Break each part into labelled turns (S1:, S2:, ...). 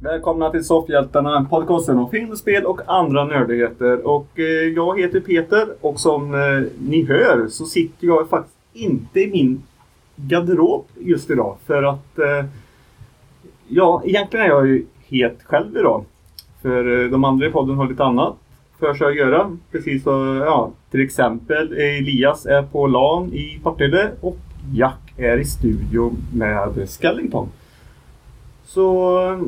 S1: Välkomna till Soffhjältarna, podcasten om film, spel och andra nördigheter. Och eh, jag heter Peter och som eh, ni hör så sitter jag faktiskt inte i min garderob just idag. För att, eh, ja, egentligen är jag ju helt själv idag. För eh, de andra i podden har lite annat för sig att göra. Precis så, ja, till exempel Elias är på LAN i Partille och Jack är i studion med Skellington. Så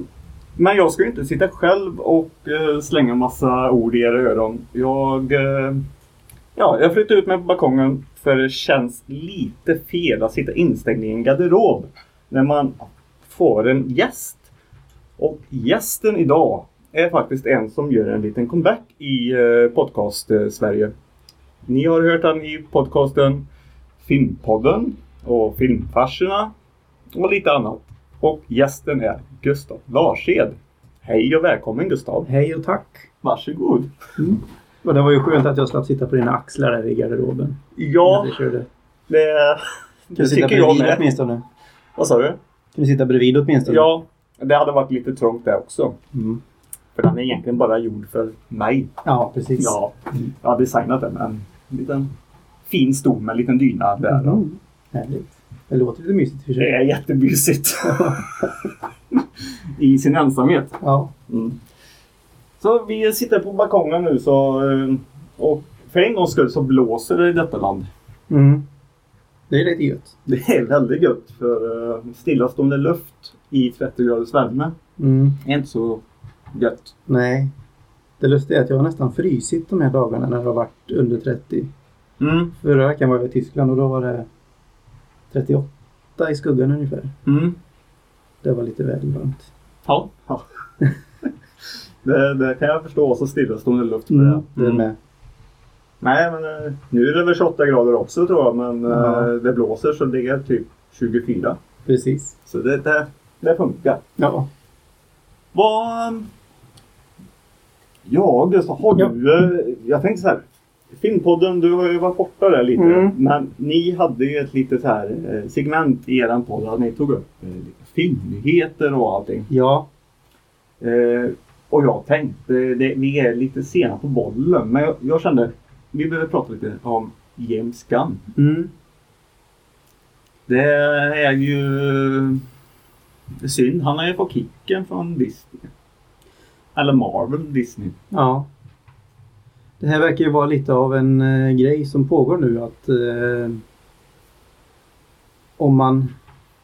S1: men jag ska ju inte sitta själv och eh, slänga massa ord i era öron. Jag, eh, ja, jag flyttade ut mig på balkongen för det känns lite fel att sitta instängd i en garderob när man får en gäst. Och gästen idag är faktiskt en som gör en liten comeback i eh, podcast-Sverige. Ni har hört han i podcasten Filmpodden och Filmfarserna och lite annat. Och gästen är Gustav Larsed. Hej och välkommen Gustav.
S2: Hej och tack.
S1: Varsågod.
S2: Och det var ju skönt att jag slapp sitta på dina axlar här i garderoben.
S1: Ja,
S2: När vi körde.
S1: det, det tycker jag med.
S3: åtminstone?
S1: Vad sa du?
S3: Kan du sitta bredvid åtminstone?
S1: Ja, det hade varit lite trångt där också.
S3: Mm.
S1: För den är egentligen bara gjord för mig.
S3: Ja, precis.
S1: Ja, jag har designat den. En liten fin stol med en liten dyna där.
S3: Mm. Härligt. Det låter lite mysigt i
S1: Det
S3: och för sig.
S1: är jättemysigt. I sin ensamhet.
S3: Ja.
S1: Mm. Så vi sitter på balkongen nu så, eh, och för en gångs skull så blåser det i detta land.
S3: Mm. Det är lite gött.
S1: Det är väldigt gött för eh, stillastående luft i 30 graders värme
S3: Mm.
S1: är inte så gött.
S3: Nej. Det lustiga är att jag har nästan frysit de här dagarna när det har varit under 30.
S1: Mm,
S3: Förra veckan var jag i Tyskland och då var det 38 i skuggan ungefär.
S1: mm,
S3: Det var lite väl varmt.
S1: ja. ja. det, det kan jag förstå, så stillastående luft. för
S3: Mm. Det
S1: det.
S3: är
S1: Mm.
S3: med.
S1: Nej, men eh, nu är det väl 28 grader också tror jag, men eh,
S3: Ja.
S1: det blåser så det är typ 24.
S3: Precis.
S1: Så det, det, det funkar.
S3: Ja.
S1: Vad... Ja, Gustav, har
S3: Ja.
S1: du... eh, Jag tänkte så här. Filmpodden, du har ju varit borta där lite.
S3: Mm.
S1: Men ni hade ju ett litet så här eh, segment i eran podd där ni tog upp eh, lite filmnyheter och allting.
S3: Ja.
S1: Eh, och jag tänkte, det, vi är lite sena på bollen, men jag, jag kände vi behöver prata lite om James Gunn.
S3: Mm.
S1: Det är ju synd. Han har ju fått kicken från Disney. Eller Marvel, Disney.
S3: Ja. Det här verkar ju vara lite av en eh, grej som pågår nu att eh, om man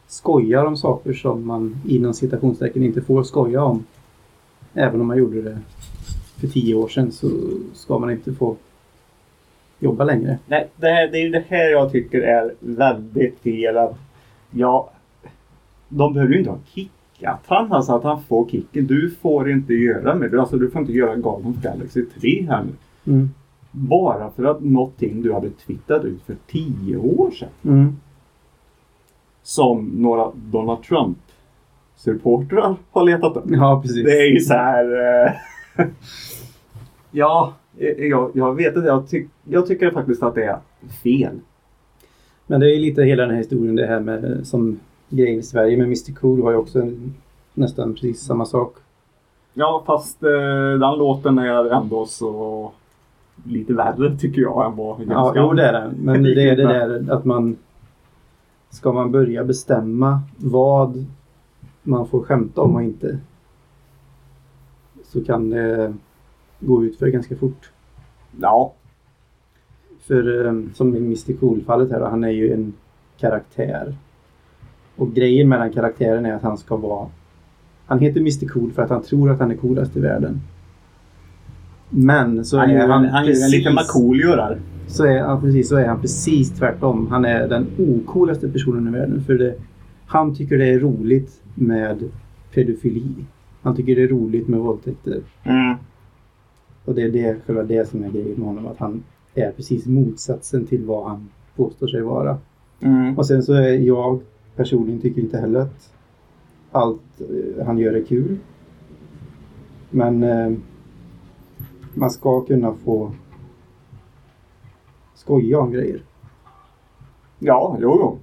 S3: skojar om saker som man inom citationstecken inte får skoja om. Även om man gjorde det för tio år sedan så ska man inte få jobba längre.
S1: Nej, det, här, det är ju det här jag tycker är väldigt fel. Att, ja, de behöver ju inte ha kickat han, alltså att han får kicken. Du får inte göra med det. Alltså du får inte göra Golden Galaxy 3 här nu.
S3: Mm.
S1: Bara för att någonting du hade twittrat ut för tio år sedan.
S3: Mm.
S1: Som några Donald Trump-supportrar har letat upp.
S3: Ja, precis.
S1: Det är ju så här... eh, ja, eh, jag, jag vet inte. Jag, ty- jag tycker faktiskt att det är fel.
S3: Men det är ju lite hela den här historien det här med eh, som grejen i Sverige med Mr Cool var ju också en, nästan precis samma sak.
S1: Ja, fast eh, den låten är ändå så lite värre tycker jag än vad
S3: Ja,
S1: James
S3: jo
S1: Gunn-
S3: det är det. Men det är det där att man... Ska man börja bestämma vad man får skämta om och inte? Så kan det gå ut för ganska fort.
S1: Ja,
S3: För eh, som i Mr Cool-fallet här då, han är ju en karaktär. Och grejen med den karaktären är att han ska vara... Han heter Mr Cool för att han tror att han är coolast i världen. Men så
S1: han
S3: är
S1: gör
S3: han,
S1: han, han gör en liten Markoolio där.
S3: så är, han, precis, så är han precis tvärtom. Han är den ocoolaste personen i världen. För det, han tycker det är roligt med pedofili. Han tycker det är roligt med våldtäkter.
S1: Mm.
S3: Och det är det, själva det som är grejen med honom. Att han är precis motsatsen till vad han påstår sig vara.
S1: Mm.
S3: Och sen så är jag personligen tycker inte heller att allt eh, han gör är kul. Men eh, man ska kunna få skoja om grejer.
S1: Ja, jo, jo.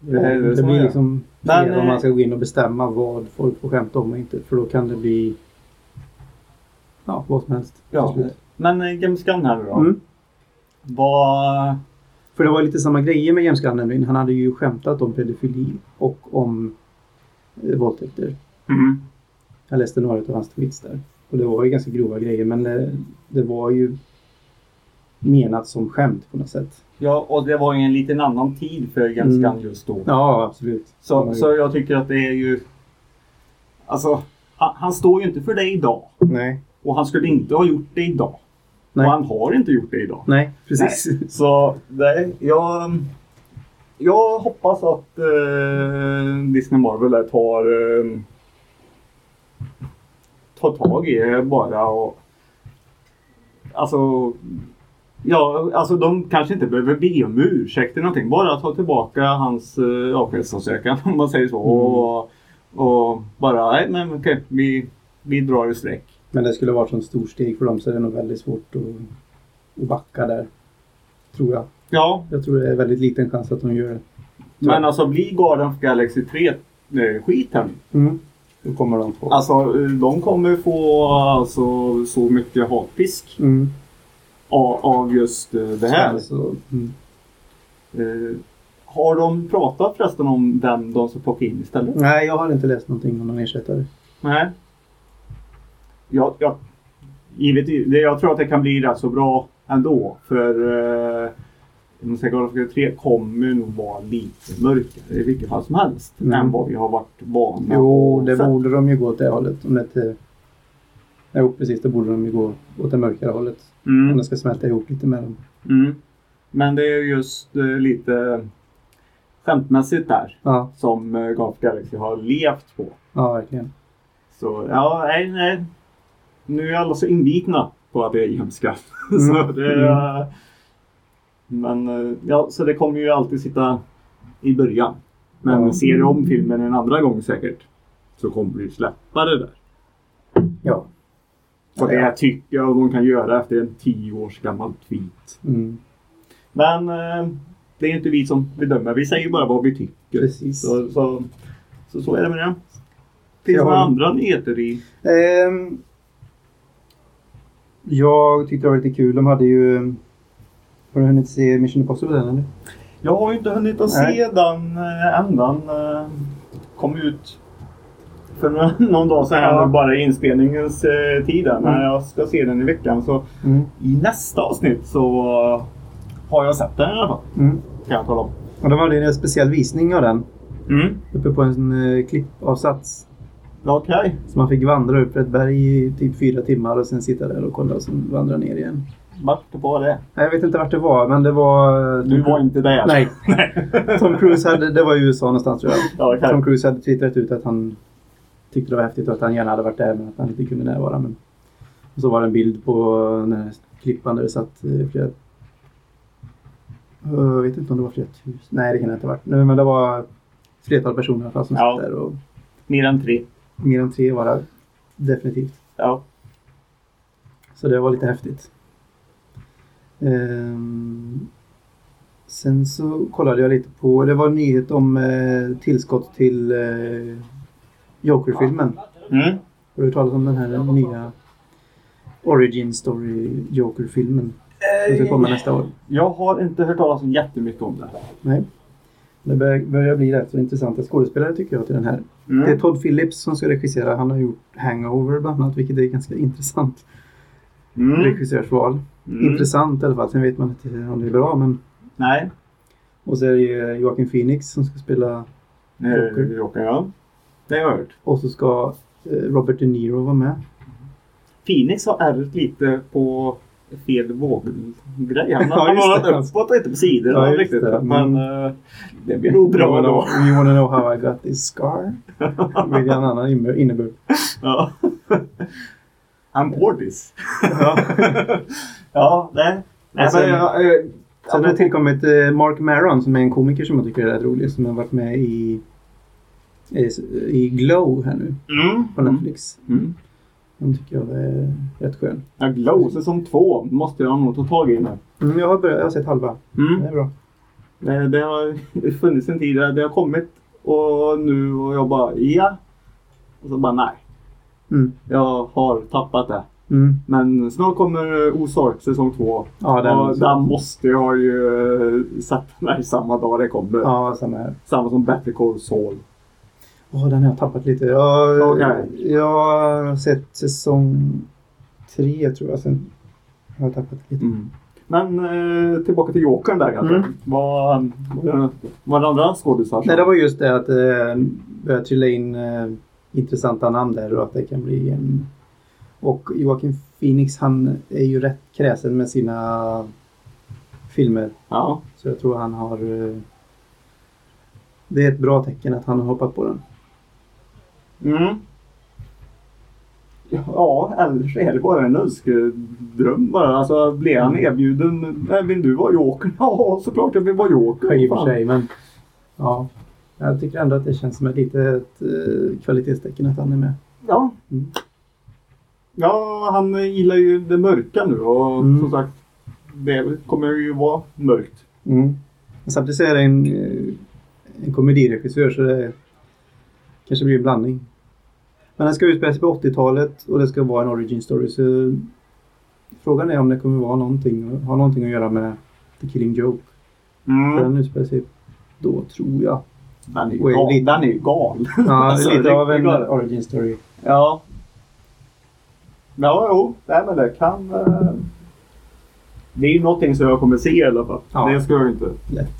S3: Det,
S1: är det
S3: det
S1: som
S3: blir
S1: är.
S3: liksom
S1: Men,
S3: Men, om
S1: eh,
S3: man ska gå in och bestämma vad folk får skämta om och inte. För då kan det bli ja, vad som helst. till
S1: Ja.
S3: slut.
S1: Men eh, Gamescan här nu då.
S3: Mm.
S1: Vad...
S3: För det var lite samma grejer med James Gunn. Han hade ju skämtat om pedofili och om eh, våldtäkter. Mm-hmm. Jag läste några av hans tweets där. Och det var ju ganska grova grejer men det, det var ju menat som skämt på något sätt.
S1: Ja, och det var ju en liten annan tid för Gamescan
S3: Mm.
S1: just då.
S3: Ja, absolut.
S1: Så, så jag tycker att det är ju... Alltså, han, han står ju inte för det idag.
S3: Nej.
S1: Och han skulle inte ha gjort det idag.
S3: Nej.
S1: Och han har inte gjort det idag.
S3: Nej, precis.
S1: Så nej, jag, jag hoppas att eh, Disney Marvel där tar, eh, tar tag i det bara. Och, alltså, ja, alltså de kanske inte behöver be om ursäkt eller någonting. Bara ta tillbaka hans eh, avskedsansökan om man säger så. Och, och bara, nej men okej, vi, vi drar ett streck.
S3: Men det skulle ha varit så stort steg för dem så det är nog väldigt svårt att, att backa där. Tror jag.
S1: Ja,
S3: Jag tror det är väldigt liten chans att de gör det.
S1: men alltså blir Garden of Galaxy 3 eh, skit här nu.
S3: Mm. Då kommer de på.
S1: Alltså de kommer få alltså, så mycket hatpisk
S3: Mm.
S1: av, av just eh, det här.
S3: Så, mm.
S1: Eh, Har de pratat förresten om vem de ska plocka in istället?
S3: Nej, jag har inte läst någonting om någon ersättare.
S1: Nej. Jag, jag, givetvis, det- jag tror att det kan bli rätt så bra ändå. För eh, om säger Call of Duty 3 kommer nog vara lite mörkare i vilket fall som helst.
S3: Mm.
S1: Än vad vi har varit vana
S3: Jo, det
S1: Så-
S3: borde de ju gå åt det hållet. Om det inte... Jo, precis. Det borde de ju gå åt det mörkare hållet. Om
S1: Mm.
S3: det ska smälta ihop lite med dem.
S1: Mm. Men det är just eh, lite skämtmässigt där.
S3: Ja,
S1: som eh, Golf Galaxy har levt på.
S3: ja verkligen.
S1: Så ja, nej, nej. Nu är alla så inbitna på att det är hemska.
S3: Mm.
S1: så det, är- eh, Men eh, ja, så det kommer ju alltid sitta i början. Men
S3: Ja.
S1: ser du om filmen en andra gång säkert så kommer du släppa det där.
S3: Ja.
S1: Och
S3: Ja.
S1: det tycker jag de kan göra efter en tio års gammal tweet.
S3: Mm.
S1: Men eh, det är inte vi som bedömer. Vi säger bara vad vi tycker.
S3: Precis.
S1: Så, så, så, så är det med det. Finns det
S3: Jag
S1: några
S3: håller-
S1: andra nyheter i
S3: Ehm, jag tyckte det var lite kul. De hade ju... Har du hunnit se Mission Impossible än eller?
S1: Jag har ju inte hunnit att se den eh, än. Den eh, kom ut för några- någon dag sedan.
S3: Ja.
S1: Ja. Bara i inspelningens eh, tid. där. Men
S3: Mm.
S1: jag ska se den i veckan. Så
S3: Mm.
S1: i nästa avsnitt så eh, har jag sett den i alla fall.
S3: Mm.
S1: Kan jag tala om.
S3: Och de hade ju en speciell visning av den.
S1: Mm.
S3: Uppe på en eh, klippavsats.
S1: Okej.
S3: Så man fick vandra upp för ett berg i typ fyra timmar och sen sitta där och kolla och sen vandra ner igen.
S1: Vart var det?
S3: Nej, Jag vet inte vart det var, men det var... eh,
S1: Du var inte där?
S3: Nej. Tom Cruise hade... Det var i USA någonstans tror jag.
S1: ja, okej.
S3: Tom Cruise hade twittrat ut att han tyckte det var häftigt och att han gärna hade varit där men att han inte kunde närvara. Men... Och så var det en bild på den här klippan där det satt eh, flera... Eh, Jag vet inte om det var flera tusen. Nej, det kan det inte ha varit. Nej, men det var ett flertal personer i alla fall som
S1: Ja.
S3: satt där och
S1: Mer än tre.
S3: mer än tre var det definitivt.
S1: Ja.
S3: Så det var lite häftigt. Ehm, sen så kollade jag lite på, det var en nyhet om eh, tillskott till eh, Joker-filmen.
S1: Mm.
S3: Har du hört talas om den här nya Origin Story Joker-filmen? Som ska komma nästa år.
S1: Jag har inte hört talas om jättemycket om det.
S3: Nej. Det bör- börjar bli rätt så intressanta skådespelare tycker jag till den här.
S1: Mm.
S3: Det är Todd Phillips som ska regissera. Han har gjort Hangover bland annat, vilket är ganska intressant
S1: mm.
S3: regissörsval.
S1: Mm.
S3: Intressant i alla fall. Sen vet man inte om det är bra. Men...
S1: Nej.
S3: Och så är det ju eh, Joaquin Phoenix som ska spela. Joker.
S1: Eh, Joker, ja. Det har jag hört.
S3: Och så ska eh, Robert De Niro vara med.
S1: Phoenix har ärrat lite på fel våggrej. Han
S3: Ja,
S1: har
S3: just
S1: varit
S3: det.
S1: uppåt och inte på sidorna
S3: Ja, just
S1: riktigt.
S3: det.
S1: Men eh, det blir nog bra
S3: You
S1: ändå.
S3: wanna- You wanna know how I got this scar? Med en annan inne- innebörd.
S1: Ja. I'm Portis. ja, nej. Nej,
S3: Och sen-
S1: men jag, eh,
S3: Sen har det tillkommit eh, Mark Maron som är en komiker som jag tycker är rätt rolig. Som har varit med i, i, i Glow här nu
S1: mm,
S3: på Netflix.
S1: mm.
S3: Den tycker jag är rätt skön.
S1: Ja, Glow säsong två måste jag nog ta tag i nu.
S3: Mm, jag, har börjat, jag har sett halva. Det
S1: Mm.
S3: är bra.
S1: Eh, Det har funnits en tid där det har kommit Och nu och jag bara ja. Och så bara nej.
S3: Mm.
S1: Jag har tappat det.
S3: Mm.
S1: Men snart kommer Ozark säsong två.
S3: Ja, den,
S1: och där måste jag ju eh, sätta mig samma dag det kommer.
S3: ja, samma här.
S1: Samma som Better Call Saul.
S3: Åh, den har jag tappat lite. Jag,
S1: Okej.
S3: jag har sett säsong tre tror jag. Sen har jag tappat lite.
S1: Men eh, tillbaka till Jokern där kanske.
S3: Mm.
S1: Vad vad- vad andra skådisar
S3: Nej, det var just det att det eh, började trilla in eh, intressanta namn där och att det kan bli en... Och Joakim Phoenix han är ju rätt kräsen med sina filmer.
S1: Ja.
S3: Så jag tror han har... eh, Det är ett bra tecken att han har hoppat på den.
S1: Mm. Ja, eller så är det bara en önskedröm bara. Alltså, blir han
S3: Mm.
S1: erbjuden, "Nej, vill du vara joker? Ja, såklart jag vill vara joker.
S3: I och för
S1: Fan.
S3: sig, men... Ja. Jag tycker ändå att det känns som ett litet eh, kvalitetstecken att han är med.
S1: Ja.
S3: Mm.
S1: ja, han gillar ju det mörka nu och
S3: Mm.
S1: som sagt, det kommer ju vara mörkt.
S3: Mm. Men Samtidigt så är det en, eh, en komediregissör så det kanske blir en blandning. Men den ska utspela sig på 80-talet och det ska vara en origin story. Så frågan är om det kommer vara någonting, ha någonting att göra med The Killing Joke.
S1: Mm.
S3: För den utspelar sig då, tror jag.
S1: Den är ju
S3: Och är
S1: gal.
S3: lite-
S1: Den är ju gal.
S3: Ja,
S1: Alltså,
S3: lite
S1: riktigt
S3: av en
S1: galen.
S3: origin story.
S1: Ja. Ja, jo. Nej, men det kan... eh, Det är ju någonting som jag kommer se i alla fall.
S3: Ja.
S1: Det ska jag inte.
S3: Lätt.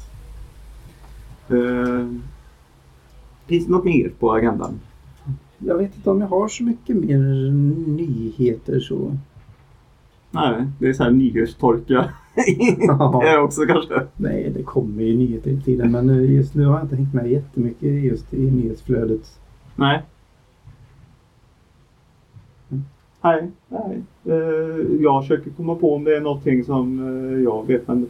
S1: Eh, finns det något mer på agendan?
S3: Jag vet inte om jag har så mycket mer nyheter så.
S1: Nej, det är så här nyhetstorka. det är också kanske.
S3: Nej, det kommer ju nyheter i tiden men eh, just nu har jag inte hängt med jättemycket just i nyhetsflödet.
S1: Nej. Nej, nej. Eh, jag försöker komma på om det är någonting som eh, jag vet, men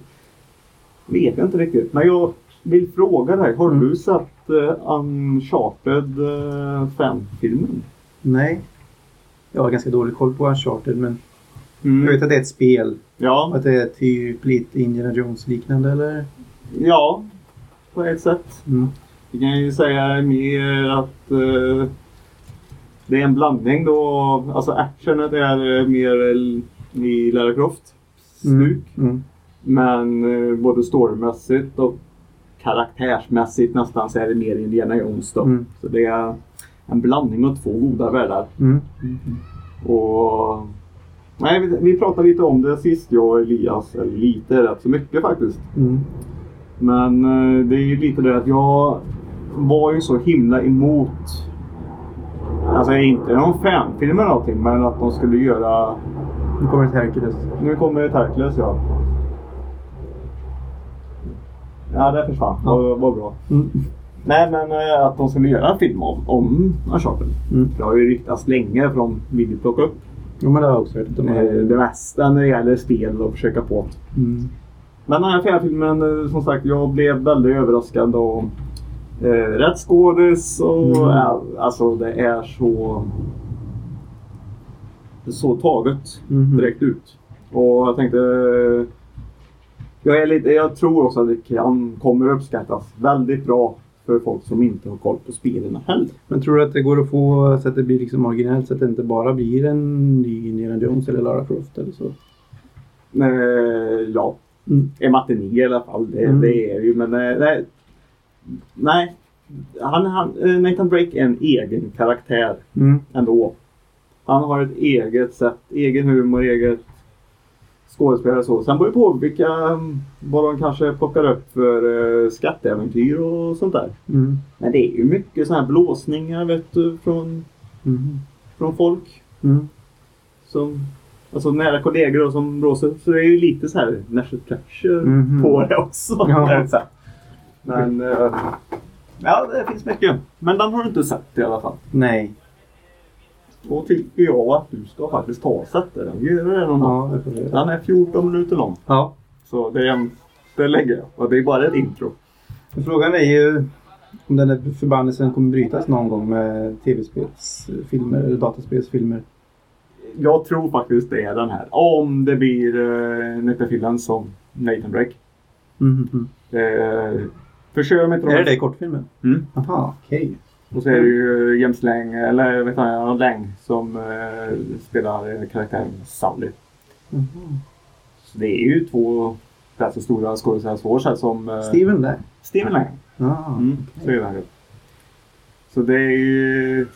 S1: vet jag inte riktigt. Men jag vill fråga dig, har
S3: Mm.
S1: du sett uh, Uncharted uh, 5-filmen?
S3: Nej. Jag har ganska dålig koll på Uncharted men jag vet att det är ett spel.
S1: Ja,
S3: Att det är typ lite Indiana Jones-liknande eller?
S1: ja, på ett sätt.
S3: Mm.
S1: Vi kan ju säga mer att eh, det är en blandning då. av- Alltså actionet är eh, mer l- i Lara Croft stuk.
S3: Mm. Mm.
S1: Men eh, både storymässigt och karaktärsmässigt nästan så är det mer Indiana Jones då.
S3: Mm.
S1: Så det är en blandning av två goda världar.
S3: Mm.
S1: Och... Nej, vi, vi pratade lite om det sist jag och Elias. Eller lite, rätt så mycket faktiskt.
S3: Mm.
S1: Men eh, det är ju lite det att jag var ju så himla emot. Alltså inte någon fanfilm eller någonting men att de skulle göra.
S3: Nu kommer ett Hercules.
S1: Nu kommer ett Hercules ja. Ja det försvann.
S3: Ja.
S1: Vad vad bra.
S3: Mm.
S1: Nej men eh, att de skulle göra en film om, om Uncharted.
S3: Mm.
S1: Det har ju ryktats länge för de vill ju plocka upp
S3: Jo men det har jag också hört. att De
S1: eh,
S3: har...
S1: det mesta när det gäller spel och försöka på.
S3: Mm.
S1: Men den här fjärde filmen, eh, som sagt, jag blev väldigt överraskad av eh, rätt skådis och
S3: Mm.
S1: eh, alltså det är så så taget
S3: Mhm.
S1: direkt ut. Och jag tänkte eh, jag, är lite, jag tror också att det kan, kommer uppskattas väldigt bra för folk som inte har koll på spelen heller.
S3: Men tror du att det går att få så att det blir liksom originellt så att det inte bara blir en ny Indiana Jones eller Lara Croft eller så?
S1: Eh, ja,
S3: Mm.
S1: en matiné i alla fall. Det,
S3: Mm.
S1: det är ju, men eh, nej. nej. Han, han, eh, Nathan Drake är en egen karaktär
S3: Mm.
S1: ändå. Han har ett eget sätt, egen humor, eget skådespelare och så. Sen beror det på vilka, mm, vad de kanske plockar upp för eh, skatteäventyr och sånt där.
S3: Mm.
S1: Men det är ju mycket sådana här blåsningar vet du, från,
S3: Mm.
S1: från folk.
S3: Mm.
S1: Som, alltså nära kollegor och som blåser. Så det är ju lite så här national treasure
S3: Mhm.
S1: på det också.
S3: Ja.
S1: på ett sätt. Men eh, ja, det finns mycket. Men den har du inte sett i alla fall.
S3: Nej.
S1: Då tycker jag att du ska faktiskt ta och sätta den. Gör det någon dag.
S3: Ja, det får vi göra.
S1: Den är 14 minuter lång.
S3: Ja.
S1: Så det, är en, det lägger jag. Och det är bara ett intro.
S3: Men Frågan är ju om den där förbannelsen kommer brytas någon gång med tv-spelsfilmer eller dataspelsfilmer.
S1: Jag tror faktiskt det är den här. Om det eh,
S3: Mhm.
S1: blir uh, Nathan Fillion som Nathan Drake.
S3: Mm.
S1: Eh, Försök med inte
S3: Är det
S1: de-
S3: det i kortfilmen?
S1: Mm.
S3: Jaha, okej.
S1: Och så är det ju eh, James Lang, eller vet han, Lang som eh, spelar karaktären Sally.
S3: Mhm.
S1: Så det är ju två rätt så stora skådespelersvårsar som eh,
S3: Steven där.
S1: Steven Lang.
S3: Ah.
S1: Mm, så är det. ju. Så det är ju...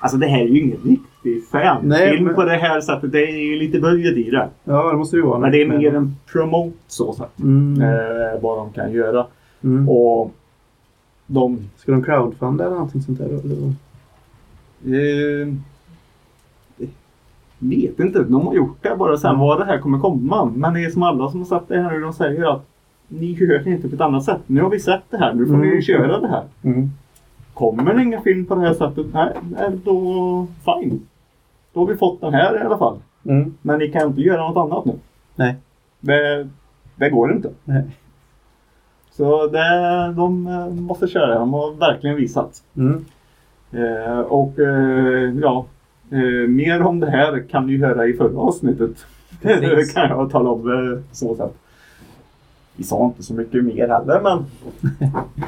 S1: Alltså det här är ju ingen riktig
S3: Nej,
S1: fanfilm
S3: men-
S1: på det här sättet. Det är ju lite budget i det.
S3: Ja, det måste det ju vara.
S1: Men det är mer en promote så sagt.
S3: Mm.
S1: Eh, vad de kan göra.
S3: Mm.
S1: Och de...
S3: Ska de crowdfunda eller någonting sånt där? eller?
S1: Eh, vet inte. De har gjort det bara
S3: Mm.
S1: sen var det här kommer komma. Men det är som alla som har sett det här nu. De säger att ni gör inte på ett annat sätt. Nu har vi sett det här. Nu får
S3: Mm.
S1: ni köra det här.
S3: Mm.
S1: Kommer det ingen film på det här sättet, nej, nej, då fine. Då har vi fått den här i alla fall.
S3: Mm.
S1: Men ni kan inte göra något annat nu.
S3: Nej.
S1: Det, det går inte.
S3: Nej.
S1: Så det, de eh, måste köra det. De har verkligen visat.
S3: Mm.
S1: Eh, och eh, ja, eh, mer om det här kan ni höra i förra avsnittet.
S3: Precis.
S1: det kan jag tala om eh, så sätt. Vi sa inte så mycket mer heller, men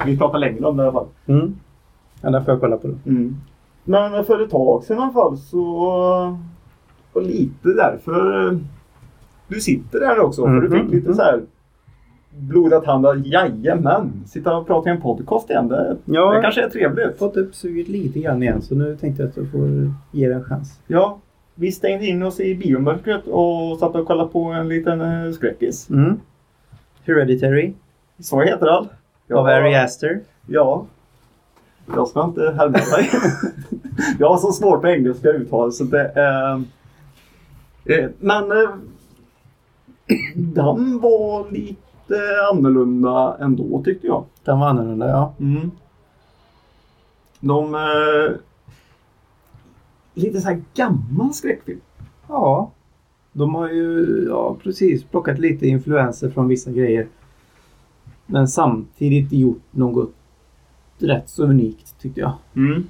S1: vi pratar längre om det i alla fall.
S3: Mm. Ja, där får jag kolla på det.
S1: Mm. Men för ett tag sedan i alla fall så... Och lite därför... eh, Du sitter där också för du
S3: Mhm,
S1: fick lite
S3: mhm.
S1: så här blodat handa. Jajamän! Sitta och prata i en podcast igen. Det,
S3: Ja,
S1: det
S3: jag
S1: kanske är trevligt.
S3: har fått upp suget lite grann igen så nu tänkte jag att jag får ge det en chans.
S1: Ja. Vi stängde in oss i biomörkret och satt och kollade på en liten eh, skräckis.
S3: Mm. Hereditary
S1: Så heter den.
S3: av Ari Aster.
S1: Ja. Jag ska inte härma dig. jag har så svårt med engelska uttal så det är... Eh, men eh, den var lite annorlunda ändå tyckte jag.
S3: Den var annorlunda, ja.
S1: Mm. De... Eh, lite så här gammal skräckfilm.
S3: Ja. De har ju ja, precis plockat lite influenser från vissa grejer. Men samtidigt gjort något rätt så unikt tyckte jag.
S1: Mm.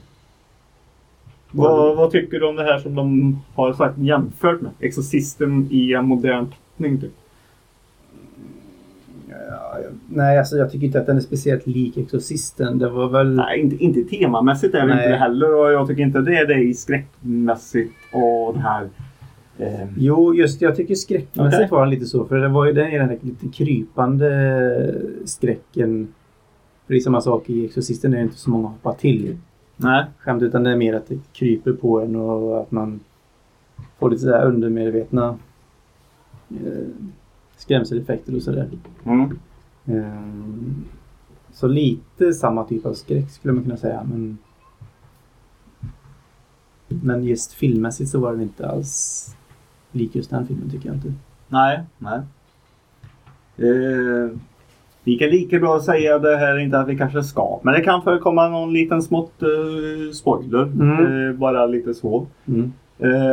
S1: Vad, vad tycker du om det här som de har sagt jämfört med? Exorcisten i en modern tappning typ.
S3: Ja, jag- Nej, alltså jag tycker inte att den är speciellt lik Exorcisten. Det var väl...
S1: Nej, inte, inte temamässigt är det
S3: Nej.
S1: inte det heller och jag tycker inte det är det i skräckmässigt och den här... Eh,
S3: Jo, just det. Jag tycker skräckmässigt
S1: Okej.
S3: var den lite så. För det var ju den, den där lite krypande skräcken. För det är samma sak i Exorcisten. Det är ju inte så många hoppar till
S1: nej.
S3: skämt. Utan det är mer att det kryper på en och att man får lite sådär undermedvetna eh, skrämseleffekter och sådär.
S1: Mm.
S3: Ehm, Så lite samma typ av skräck skulle man kunna säga. Men, men just filmmässigt så var den inte alls lik just den filmen tycker jag inte.
S1: Nej, nej. Eh, vi kan lika bra säga det här, inte att vi kanske ska, men det kan förekomma någon liten smått eh, spoiler.
S3: Mm.
S1: Eh, bara lite så.
S3: Mm.
S1: Eh,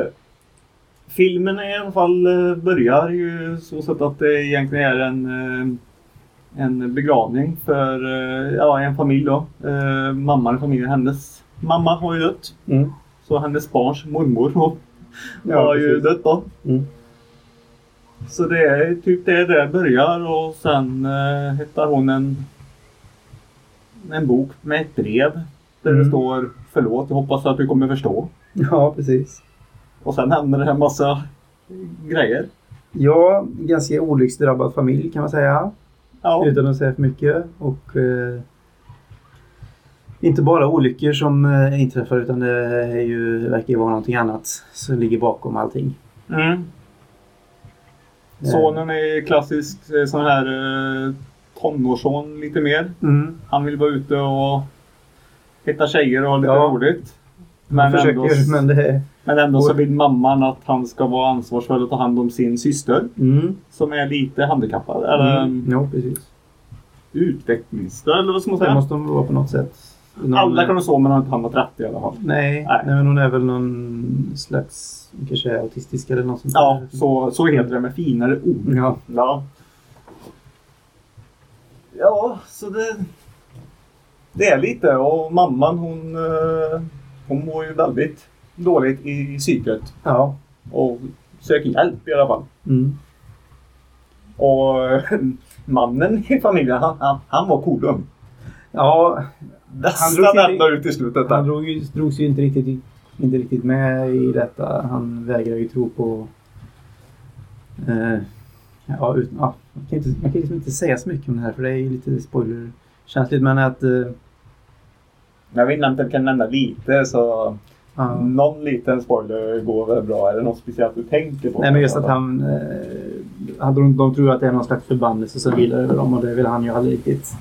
S1: filmen i alla fall eh, börjar ju så sätt att det egentligen är en, eh, en begravning för eh, ja, en familj då. Eh, mamman i familjen, hennes mamma har ju dött.
S3: Mm.
S1: Så hennes barns mormor har,
S3: Ja,
S1: har ju
S3: precis.
S1: dött då.
S3: Mm.
S1: Så det är typ det där börjar och sen eh, hittar hon en, en bok med ett brev där det
S3: Mm.
S1: står Förlåt, jag hoppas att du kommer förstå.
S3: Ja, precis.
S1: Och sen händer det en massa grejer.
S3: Ja, ganska olycksdrabbad familj kan man säga.
S1: Ja.
S3: Utan att säga för mycket. Och eh, inte bara olyckor som eh, inträffar utan det är ju, verkar ju vara någonting annat som ligger bakom allting. Eh.
S1: Mm. Sonen är klassisk eh, sån här eh, tonårsson lite mer.
S3: Mm.
S1: Han vill vara ute och hitta tjejer och ha lite
S3: Ja.
S1: roligt.
S3: Men
S1: Men
S3: försöker,
S1: ändå, s-
S3: men det är...
S1: men ändå så vill mamman att han ska vara ansvarsfull och ta hand om sin syster
S3: Mm.
S1: som är lite handikappad. Eller
S3: Mm. Ja, precis.
S1: utvecklingsstörd eller vad ska man
S3: Det
S1: säga.
S3: måste de vara på något sätt. Någon,
S1: Alla kan så men han har inte hamnat rätt i alla fall.
S3: Nej,
S1: Nej.
S3: nej. men hon är väl någon slags, kanske är autistisk eller något sånt.
S1: Ja,
S3: där.
S1: så, så heter det med finare ord.
S3: Ja.
S1: Ja. Ja, så det... Det är lite och mamman hon, eh, hon mår ju väldigt dåligt i psyket
S3: Ja.
S1: och söker hjälp i alla fall. eh,
S3: Mm.
S1: Och mannen i familjen han, han, han var kodum.
S3: Ja,
S1: Nästan
S3: drog
S1: ända ut i slutet
S3: han
S1: där.
S3: drog, ju- drogs ju inte riktigt, i- inte riktigt med i detta. Han vägrar ju tro på... Eh, ja, ut, ja, man kan, inte, man kan liksom inte säga så mycket om det här för det är ju lite spoilerkänsligt. Men att... Eh,
S1: När vi nämnt kan nämna lite så
S3: han,
S1: någon liten spoiler går väl bra. Är det något speciellt du tänker på?
S3: Nej men just att han... Eh, han de, de tror att det är någon slags förbannelse som vilar över dem och det vill han ju aldrig riktigt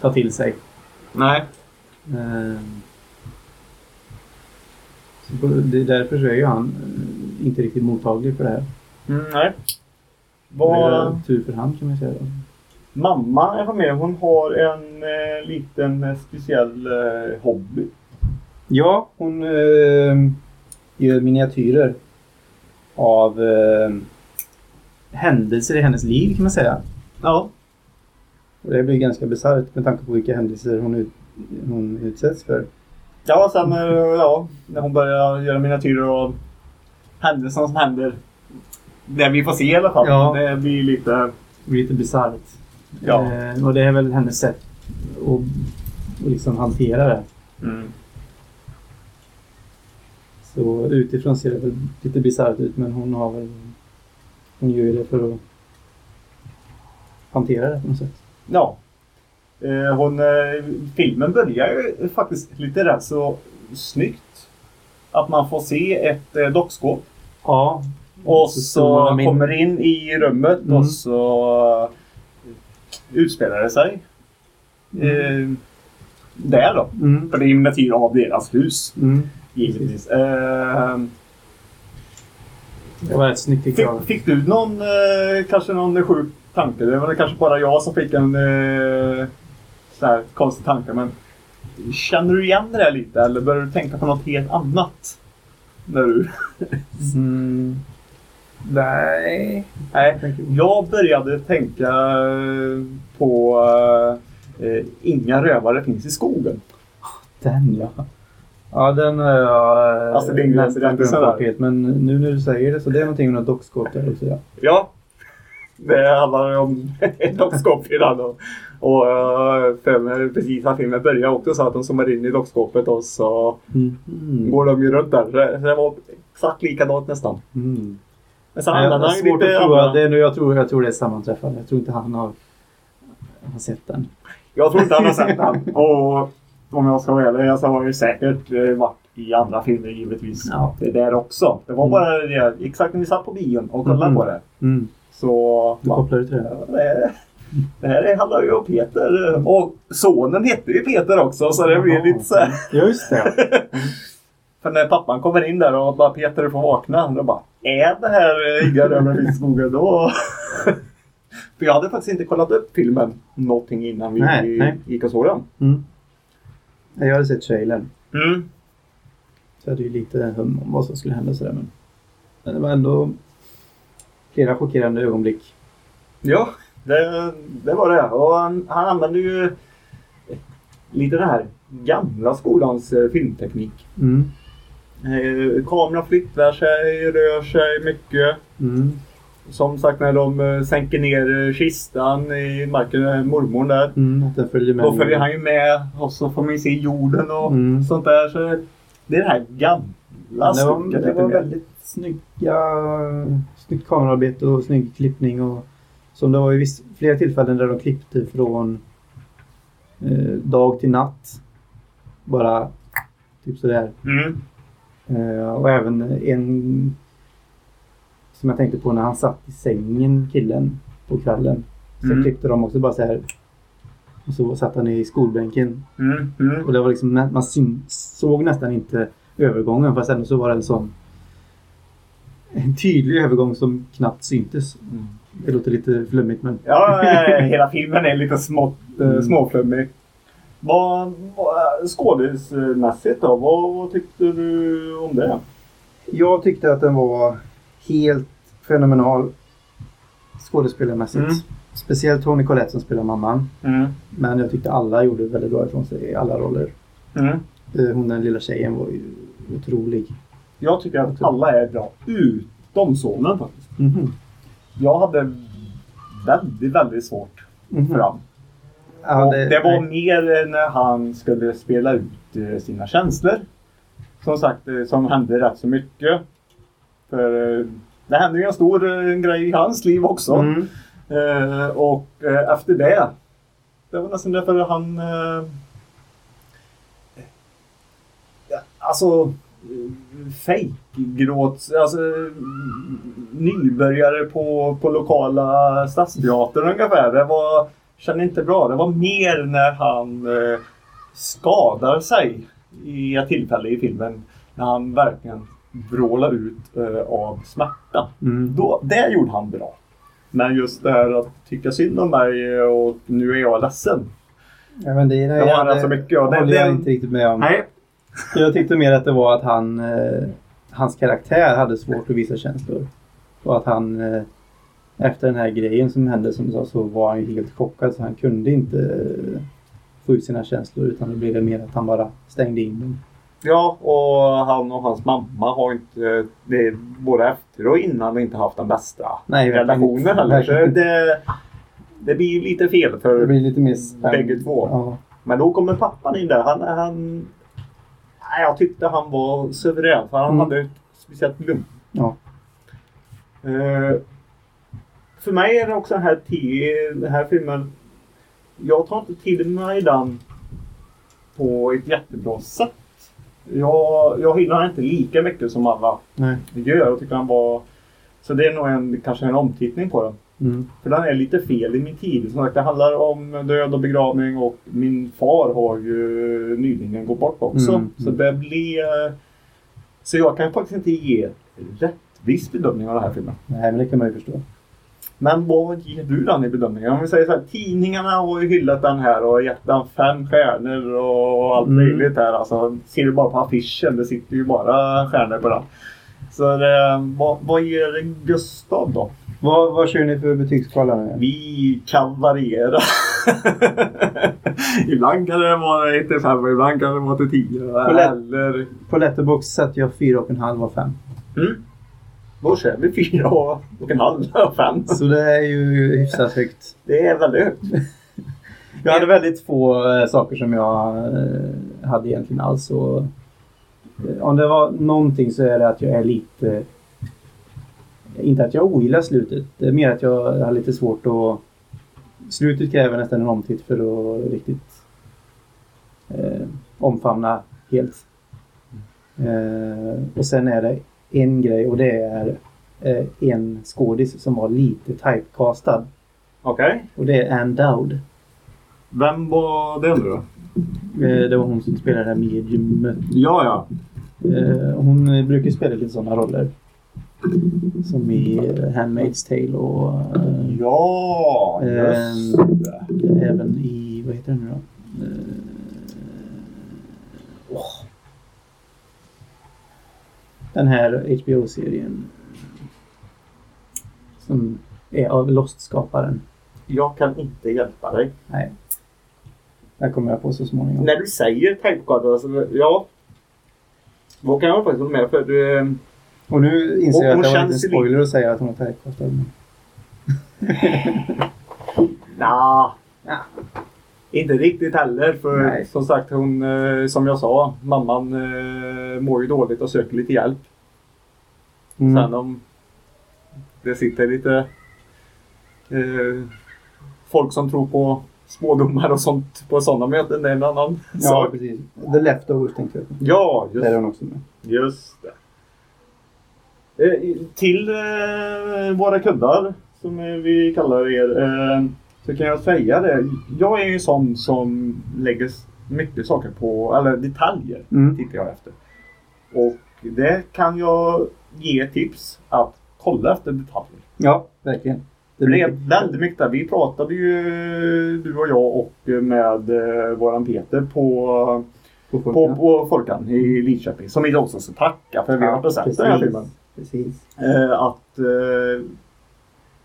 S3: ta till sig.
S1: Nej.
S3: Eh, så på- det, därför så är ju han eh, inte riktigt mottaglig för det här.
S1: Mm, nej.
S3: Det
S1: Vad...
S3: är tur för han kan man säga. Då.
S1: Mamma är med. Hon har en eh, liten eh, speciell eh, hobby.
S3: Ja, hon eh, gör miniatyrer av eh, händelser i hennes liv kan man säga.
S1: Ja.
S3: Och det blir ganska bisarrt med tanke på vilka händelser hon, ut, hon utsätts för.
S1: Ja, sen eh, ja, när hon börjar göra miniatyrer av händelserna som händer. Det vi får se i alla fall.
S3: Ja.
S1: Det blir lite...
S3: Det blir lite bisarrt.
S1: Ja.
S3: Eh, och det är väl hennes sätt att, att liksom hantera det.
S1: Mm.
S3: Så utifrån ser det väl lite bisarrt ut men hon har väl... Hon gör ju det för att hantera det på något sätt.
S1: Ja. Eh, hon, eh, filmen börjar ju faktiskt lite rätt så snyggt. Att man får se ett eh, dockskåp.
S3: Ja.
S1: Och
S3: Så
S1: så,
S3: står man in-
S1: kommer in i rummet
S3: Mm.
S1: och så eh, utspelar det sig. Eh, där då.
S3: Mm.
S1: För det är ju miniatyr av deras hus.
S3: Mm.
S1: Givetvis. Eh,
S3: Det var rätt snyggt tycker
S1: fick,
S3: jag.
S1: fick du någon, eh, kanske någon sjuk tanke? Det var det kanske bara jag som fick en eh, så här konstig tanke. Men känner du igen det där lite eller börjar du tänka på något helt annat? När du...
S3: Mm. Nej.
S1: Nej,
S3: Jag tänker-
S1: Jag började tänka eh, på eh, eh, Inga rövare finns i skogen.
S3: Den ja. Ja den har jag eh,
S1: Alltså, det är ju
S3: nästan
S1: rätt
S3: glömt
S1: bisarrt.
S3: bort helt. Men nu när du säger det så det är någonting med något dockskåp där också ja.
S1: Ja, det handlar om ett dockskåp redan. Och, och eh, filmen, precis när filmen börjar också så att de zoomar in i dockskåpet och så
S3: Mm.
S1: går de ju runt där. Det, det var exakt likadant nästan.
S3: Mm.
S1: Men sen
S3: Nej, jag
S1: använder
S3: har
S1: han
S3: svårt
S1: ju lite
S3: att tro att
S1: andra...
S3: det, är nu- jag, tror, jag tror det är sammanträffande. Jag tror inte han har, har sett den.
S1: Jag tror inte han har sett den. Och om jag ska vara ärlig så har jag ju säkert eh, varit i andra filmer givetvis.
S3: Ja.
S1: Det där också. Det var
S3: Mm.
S1: bara det, exakt när vi satt på bion och kollade
S3: Mm.
S1: på det.
S3: Mm.
S1: Så...
S3: Du kopplar ut till det?
S1: Ja, Det, det här handlar ju om Peter. Och sonen hette ju Peter också så det blir
S3: Jaha.
S1: lite så här.
S3: Ja, just det.
S1: För när pappan kommer in där och bara Peter du får vakna. Då bara är det här eh, Inga rövare finns i skogen då? För jag hade faktiskt inte kollat upp filmen någonting innan vi
S3: Nej, nej.
S1: gick och såg den.
S3: Mm. Nej, Jag hade sett trailern.
S1: Mm.
S3: Så jag hade ju lite hum om vad som skulle hända och sådär. Men, men det var ändå flera chockerande ögonblick.
S1: Ja, det, det var det. Och han, han använde ju lite den här gamla skolans eh, filmteknik.
S3: Mm.
S1: Eh, kameran flyttar sig, rör sig mycket.
S3: Mm.
S1: Som sagt när de eh, sänker ner eh, kistan i marken, eh, mormor där.
S3: Mm. Att den följer med.
S1: Då följer han ju med och så får man ju se jorden och
S3: Mm.
S1: sånt där. Så det är det här gamla
S3: Det var,
S1: stuket
S3: det
S1: lite
S3: var
S1: mer.
S3: väldigt snygga, snyggt kamerarbete och snygg klippning. Och, som det var ju viss, flera tillfällen där de klippte från eh, dag till natt. Bara typ sådär.
S1: Mm.
S3: Eh, och även en som jag tänkte på när han satt i sängen, killen, på kvällen. Så
S1: Mm.
S3: klippte de också bara så här. Och så satt han i skolbänken
S1: Mm. Mm.
S3: och det var liksom, nä- man syn, såg nästan inte övergången fast ändå så var det en sån en tydlig övergång som knappt syntes.
S1: Mm.
S3: Det låter lite flummigt men
S1: Ja, eh, hela filmen är lite smått, eh,
S3: Mm.
S1: småflummig. Vad, vad, skådismässigt då, vad, vad tyckte du om det?
S3: jag tyckte att den var helt fenomenal skådespelarmässigt.
S1: Mm.
S3: Speciellt Tony Collette som spelar mamman.
S1: Mm.
S3: Men jag tyckte alla gjorde väldigt bra ifrån sig i alla roller.
S1: Mm.
S3: Eh, Hon den lilla tjejen var ju otrolig.
S1: Jag tycker att alla är bra, utom sonen faktiskt.
S3: Mhm.
S1: Jag hade väldigt, väldigt svårt
S3: Mhm.
S1: för han.
S3: Ja,
S1: och det var
S3: nej.
S1: mer eh, när han skulle spela ut eh, sina känslor. Som sagt, eh, som hände rätt så mycket. För eh, det hände ju en stor eh, grej i hans liv också.
S3: Mm.
S1: Eh, och eh, efter det, det var nästan därför han... Eh, ja, alltså, eh, fejkgråts... Alltså, mm, nybörjare på, på lokala stadsteatern ungefär. Det var... Kände inte bra. Det var mer när han eh, skadar sig i ett tillfälle i filmen. När han verkligen vrålar ut eh, av smärta.
S3: Mm.
S1: Då, det gjorde han bra. Men just det här att tycka synd om mig och nu är jag ledsen.
S3: Ja, men det, det,
S1: Jag har alltså mycket av det.
S3: håller jag
S1: Det-
S3: inte riktigt med om.
S1: Nej.
S3: Jag tyckte mer att det var att han, eh, hans karaktär hade svårt att visa känslor. Och att han eh, efter den här grejen som hände som du sa så var han ju helt chockad så han kunde inte eh, få ut sina känslor utan det blev det mer att han bara stängde in dem.
S1: Ja, och han och hans mamma har inte, det är både efter och innan, inte haft den bästa
S3: Nej, verkligen inte.
S1: relationen heller. Så
S3: Verkligen inte.
S1: det, det blir ju lite fel
S3: Det
S1: för
S3: blir lite mer spänt.
S1: bägge två.
S3: Ja.
S1: Men då kommer pappan in där. Han, han, nej, jag tyckte han var suverän för han
S3: Mm.
S1: hade ett speciellt lugn.
S3: Ja.
S1: Eh, för mig är det också den här, ti- den här filmen. Jag tar inte till mig den på ett jättebra sätt. Jag, jag gillar den inte lika mycket som alla
S3: Nej.
S1: gör. Jag tycker den var, så det är nog en, kanske en omtittning på den.
S3: Mm.
S1: För den är lite fel i min tid. Som sagt, det handlar om död och begravning och min far har ju nyligen gått bort också.
S3: Mm,
S1: Så det blir... Så jag kan faktiskt inte ge rättvis bedömning av den här filmen.
S3: Nej, men det kan man ju förstå.
S1: Men vad ger du den i bedömningen? Om vi säger så här, tidningarna har ju hyllat den här och gett den fem stjärnor och allt
S3: Mm.
S1: möjligt här. Alltså, ser du bara på affischen, det sitter ju bara stjärnor på den. Så eh, vad, vad ger Gustav då?
S3: Vad, vad kör ni för betygsskala nu?
S1: Vi kan variera. ibland kan det vara 1 till 5 ibland kan det vara till 10.
S3: lätt.
S1: Eller...
S3: På Letterbox satte jag 4,5 av 5.
S1: Mm. Då kör vi 4 och och en halv och 5.
S3: Så det är ju hyfsat högt.
S1: Det är väldigt högt.
S3: Jag hade väldigt få eh, saker som jag eh, hade egentligen alls. Och, eh, om det var någonting så är det att jag är lite... Inte att jag ogillar slutet. Det är mer att jag har lite svårt att... Slutet kräver nästan en omtitt för att riktigt eh, omfamna helt. Eh, och sen är det en grej och det är eh, en skådis som var lite typecastad.
S1: Okej.
S3: Och det är Anne Dowd.
S1: Vem var det nu då?
S3: Eh, Det var hon som spelade det här mediumet.
S1: Ja, ja.
S3: Eh, Hon eh, brukar spela lite sådana roller. Som i eh, Handmaid's Tale och eh,
S1: Ja, just
S3: Ehm.
S1: det.
S3: även i, vad heter den nu då? Eh, åh. Den här HBO-serien. Som är av Lost-skaparen.
S1: Jag kan inte hjälpa dig.
S3: Nej. Den kommer jag på så småningom.
S1: När du säger typecard, alltså, ja. Då kan jag faktiskt hålla med för eh,
S3: Och nu inser
S1: Och
S3: jag
S1: hon
S3: att det var en
S1: känns
S3: liten
S1: ju
S3: spoiler att säga att hon är typecastad. men-
S1: Nja. Inte riktigt heller. För
S3: Nej.
S1: som sagt, hon, eh, som jag sa, mamman eh, mår ju dåligt och söker lite hjälp.
S3: Mm.
S1: Sen om det sitter lite eh, folk som tror på spådomar och sånt på sådana möten, det är en annan
S3: Ja,
S1: sak.
S3: precis. The Leftovers tänkte jag på.
S1: Ja, just
S3: Där är hon också med.
S1: Just det. Eh, till eh, våra kuddar, som eh, vi kallar er, eh, så kan jag säga det. Jag är ju en sån som lägger s- mycket saker på, eller detaljer
S3: Mm.
S1: tittar jag efter. Och det kan jag ge tips att kolla efter detaljer.
S3: Ja, verkligen.
S1: Det blev väldigt mycket där. Vi pratade ju, du och jag och med eh, våran Peter på
S3: på,
S1: på, på Folkan i Linköping. Som vi också ska tacka för att vi har sett den här filmen.
S3: Precis.
S1: Eh, att, eh,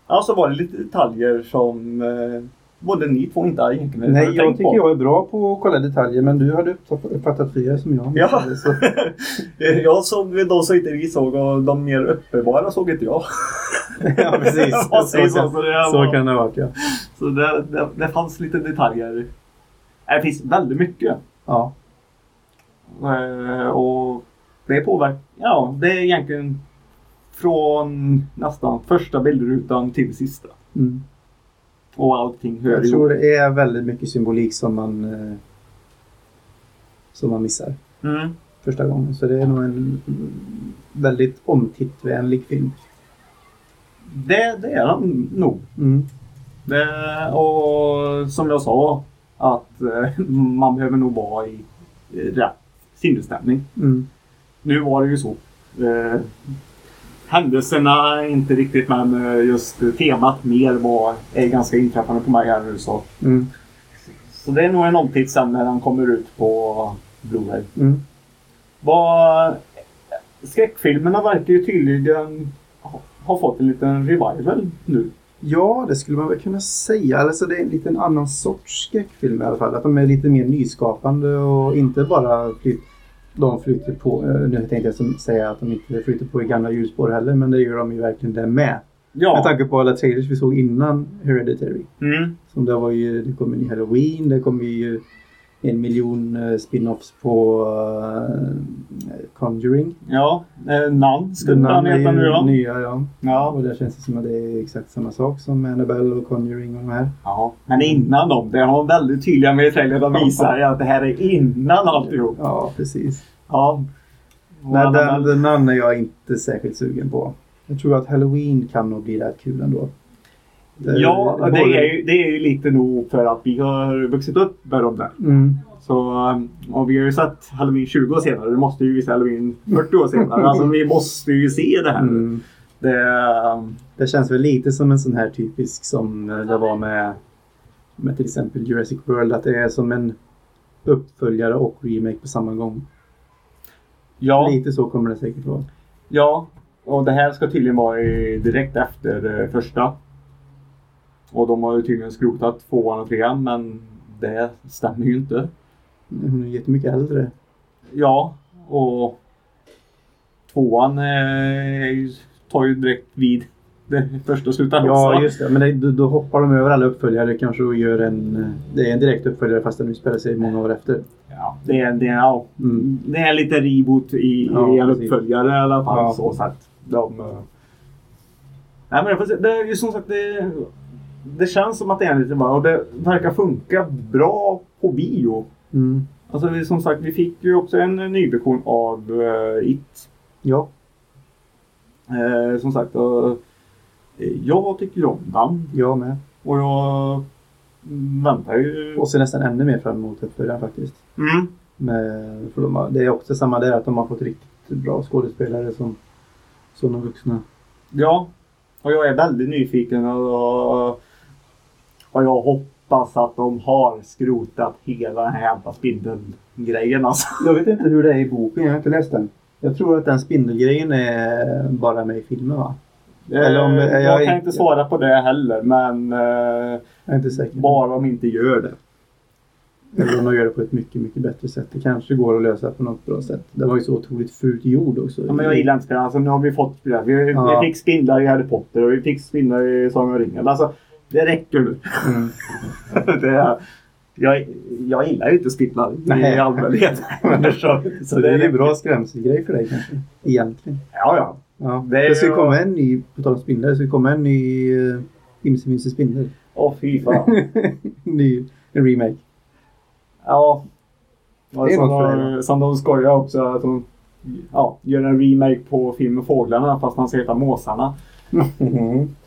S1: alltså var det lite detaljer som eh, både ni två inte hade egentligen
S3: Nej,
S1: hade
S3: jag
S1: tänkt
S3: tycker
S1: på.
S3: jag är bra på att kolla detaljer men du hade uppfatt- uppfattat fyra som jag.
S1: Ja.
S3: Så,
S1: Eh, jag såg de som inte vi såg och de mer uppenbara såg inte jag.
S3: ja, precis.
S1: Vad
S3: Så
S1: sägs
S3: kan,
S1: om det här
S3: så
S1: var?
S3: kan det ha varit ja.
S1: Så det, det, det fanns lite detaljer. Det finns väldigt mycket.
S3: Ja.
S1: Eh, Och det påverkar. Ja, det är egentligen från nästan första bildrutan till sista.
S3: Mm.
S1: Och allting hör
S3: Jag
S1: ihop.
S3: tror det är väldigt mycket symbolik som man, eh, som man missar
S1: Mm.
S3: första gången. Så det är nog en väldigt omtittvänlig film.
S1: Det, det är han nog.
S3: Mm.
S1: Det, och som jag sa, att eh, man behöver nog vara i eh, rätt sinnesstämning.
S3: Mm.
S1: Nu var det ju så. Eh, händelserna inte riktigt, men eh, just temat mer var, är ganska inträffande på mig här nu. Så,
S3: Mm.
S1: så det är nog en omtitt sen när den kommer ut på Blu-ray.
S3: Mm.
S1: Vad- eh, Skräckfilmerna verkar ju tydligen ha- ha fått en liten revival nu.
S3: Ja, det skulle man väl kunna säga. Alltså det är en liten annan sorts skräckfilm i alla fall. Att de är lite mer nyskapande och inte bara flyt, de flyter på. eh, Nu tänkte jag som- säga att de inte flyter på i gamla hjulspår heller, men det gör de ju verkligen det med. Med
S1: Ja.
S3: tanke på alla trailers vi såg innan Hereditary.
S1: Mm.
S3: Som det var ju, det kom ju en Halloween, det kom ju en miljon eh, spin-offs på eh, Conjuring.
S1: Ja, eh, Nan
S3: The
S1: skulle han
S3: Nun är
S1: heta
S3: ju
S1: nu då.
S3: Nya, ja.
S1: Ja.
S3: Och det känns ju som att det är exakt samma sak som Annabelle och Conjuring och de här.
S1: ja. Men innan dem, det har de väldigt tydliga med i trailern. De visar ju att det här är innan alltihop.
S3: Ja, precis.
S1: Ja.
S3: Nej, den, den andra är jag inte särskilt sugen på. Jag tror att Halloween kan nog bli rätt kul ändå. Det-
S1: ja, det
S3: både-
S1: är, ju, det är ju lite nog för att vi har vuxit upp med dem där.
S3: Mm.
S1: Så, eh, och vi har ju sett Halloween 20 år senare. Vi måste ju se Halloween 40 år senare. Alltså vi måste ju se det här.
S3: Mm.
S1: Det, eh,
S3: Det känns väl lite som en sån här typisk som eh, det var med, med till exempel Jurassic World. Att det är som en uppföljare och remake på samma gång.
S1: ja.
S3: Lite så kommer det säkert vara.
S1: Ja, och det här ska tydligen vara i- direkt efter eh, första. Och de har ju tydligen skrotat tvåan och trean, men det stämmer ju inte.
S3: Mm, Hon är jättemycket äldre.
S1: Ja, och tvåan eh, är ju- tar ju direkt vid det första slutar
S3: Ja, just det. Men det, då- då hoppar de över alla uppföljare kanske och gör en... eh, Det är en direkt uppföljare fast den utspelar sig många år efter.
S1: Ja, det, är, det, är, ja,
S3: Mm.
S1: det är lite reboot i,
S3: Ja,
S1: i en
S3: precis.
S1: uppföljare i alla fall.
S3: Ja.
S1: Så, så att de, eh, nej, men det, får se. det är ju som sagt det, det känns som att det är lite bara och det verkar funka bra på bio.
S3: Mm.
S1: Alltså vi, som sagt, vi fick ju också en ny version av eh, It.
S3: Ja.
S1: Eh, som sagt, eh, jag tycker om den
S3: Jag med.
S1: och jag väntar ju.
S3: Och ser nästan ännu mer fram emot uppföljaren faktiskt.
S1: Mm.
S3: Men, för de har, det är också samma där, att de har fått riktigt bra skådespelare som, som de vuxna.
S1: Ja, och jag är väldigt nyfiken och, och jag hoppas att de har skrotat hela den här jävla spindelgrejen alltså.
S3: Jag vet inte hur det är i boken, jag har inte läst den. Jag tror att den spindelgrejen är bara med i filmen va? Eller om-
S1: Eh, jag
S3: jag-
S1: kan inte svara på det heller, men eh,
S3: Jag är inte säker.
S1: bara om inte gör det.
S3: Eller om de gör det på ett mycket, mycket bättre sätt. Det kanske går att lösa på något bra sätt. Det var ju så otroligt fult gjord också.
S1: Ja, men jag gillar inte spindlar, alltså, nu har vi fått spindlar. Vi,
S3: Ja.
S1: vi fick spindlar i Harry Potter och vi fick spindlar i Sagan om ringen. Alltså, det räcker nu.
S3: Mm.
S1: det är, jag, jag gillar ju inte spindlar i
S3: Nej.
S1: allmänhet. så,
S3: Så det är ju
S1: räcker.
S3: en bra skrämselgrej för dig kanske. Egentligen.
S1: Ja, ja.
S3: Ja.
S1: Det
S3: Det,
S1: är
S3: ska ju
S1: ju-
S3: komma en ny, på tal om spindlar, det ska ju komma en ny uh, Imse Mimse Spindel.
S1: Åh, fy fan.
S3: ny en remake.
S1: Ja. Och
S3: Det är
S1: som,
S3: något för dig,
S1: de, som de skojar också att de ja, gör en remake på filmen Fåglarna fast han ska heta Måsarna.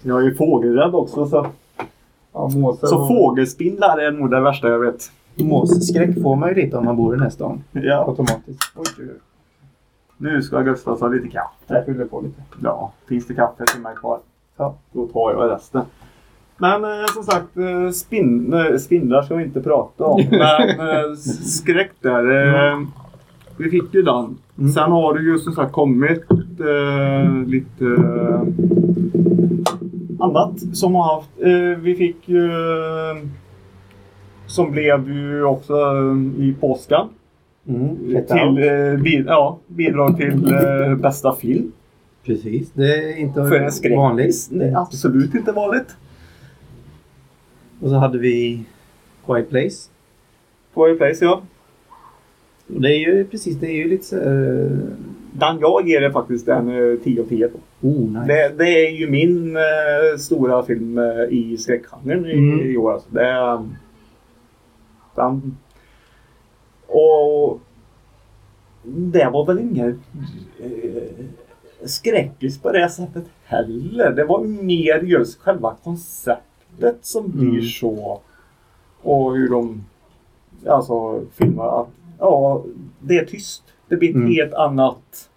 S1: Jag är ju fågelrädd också så,
S3: Mm-hmm. Ja, måsar
S1: så fågelspindlar är nog det värsta jag vet.
S3: Måsskräck får man ju lite om man bor i den här stan.
S1: Ja.
S3: Automatiskt. Oj, oj, oj.
S1: Nu ska Gustav ta lite
S3: Jag
S1: kaffe.
S3: fyller på lite.
S1: Ja, finns det kaffe till mig kvar?
S3: Ja.
S1: Då tar jag resten. Men eh, som sagt, eh, spin, eh, spindlar ska vi inte prata om. Men eh, s- skräck där. Eh, vi fick ju den.
S3: Mm.
S1: Sen har det ju som sagt kommit eh, lite eh, annat som har haft. Eh, vi fick ju eh, som blev ju också eh, i påskan.
S3: Mm,
S1: Till, eh, bi- ja, bidrag till eh, bästa film.
S3: Precis. Det är inte
S1: För en skräck.
S3: vanligt.
S1: Det är absolut inte vanligt.
S3: Och så hade vi Quiet Place.
S1: Quiet Place, ja.
S3: Och det är ju precis, det är ju lite så eh, här,
S1: Den jag ger det faktiskt en eh, 10 av 10 på.
S3: Oh, nice.
S1: Det, det är ju min eh, stora film eh, i skräckgenren i,
S3: Mm.
S1: i år. Alltså. Det är, den, och det var väl ingen eh, skräckis på det sättet heller. Det var mer just själva konceptet som blir
S3: Mm.
S1: så. Och hur de alltså, filmar att ja, det är tyst. Det blir ett
S3: Mm.
S1: helt annat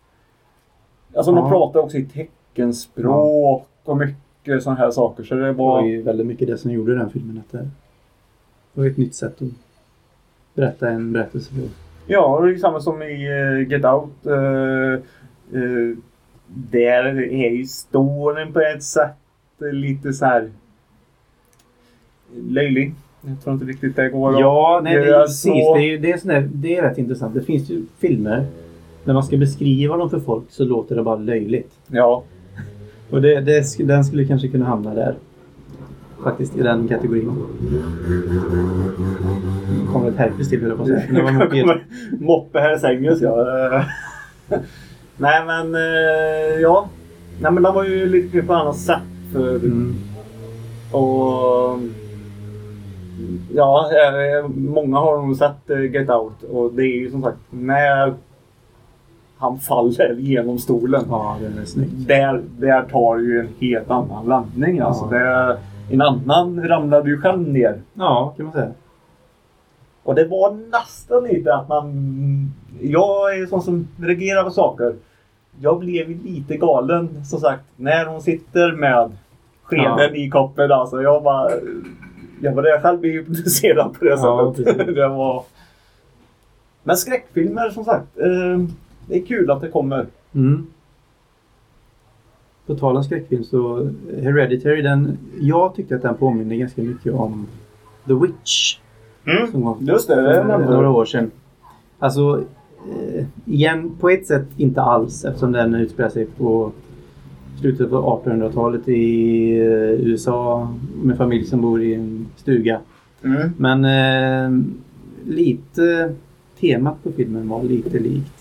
S1: Alltså
S3: Ja.
S1: de pratar också i teckenspråk och mycket sådana här saker. Så det
S3: Det var
S1: var...
S3: ju väldigt mycket det som gjorde den filmen. Att det det var ett nytt sätt att berätta en berättelse på.
S1: Ja, det är ju samma som i eh, Get Out. eh, eh, där är ju storyn på ett sätt lite så här löjlig. Jag tror inte riktigt det går att-
S2: Ja, nej, det
S1: Det
S2: är
S1: är
S2: precis.
S1: så-
S2: Det är, ju- det, är sån där, det är rätt intressant. Det finns ju filmer, när man ska beskriva dem för folk så låter det bara löjligt.
S1: ja.
S3: Och det, det, sk- den skulle kanske kunna hamna där. Faktiskt i den kategorin. Nu Kommer ett herpes till höll jag på att säga. Men det var nog helt-
S1: Moppe här i sängen så jag... eh, Nej men eh, ja. Nej men den var ju lite kul på annat sätt. För
S3: Mm.
S1: Och... Ja, eh, många har nog sett eh, Get Out och det är ju som sagt när han faller genom stolen.
S3: Ja, den är snygg.
S1: Där, där tar ju en helt annan landning. Alltså,
S3: Ja.
S1: det, en annan ramlade ju själv ner.
S3: Ja, kan man säga.
S1: Och det var nästan lite att man... Jag är sån som reagerar på saker. Jag blev ju lite galen som sagt när hon sitter med skeden
S3: Ja.
S1: i koppen. Alltså, jag bara... Jag var där själv blev hypnotiserad på det
S3: Ja,
S1: sättet. det var... Men skräckfilmer som sagt. Eh, det är kul att det kommer.
S3: Mm. På tal om skräckfilm så Hereditary, den, jag tyckte att den påminner ganska mycket om The Witch.
S1: Mm.
S3: Som var
S1: Just det, det
S3: för
S1: nämnde
S3: några
S1: du.
S3: år sedan. Alltså, eh, igen, på ett sätt inte alls eftersom den utspelar sig på slutet på 1800-talet i eh, USA med familj som bor i en stuga.
S1: Mm.
S3: Men eh, lite temat på filmen var lite likt.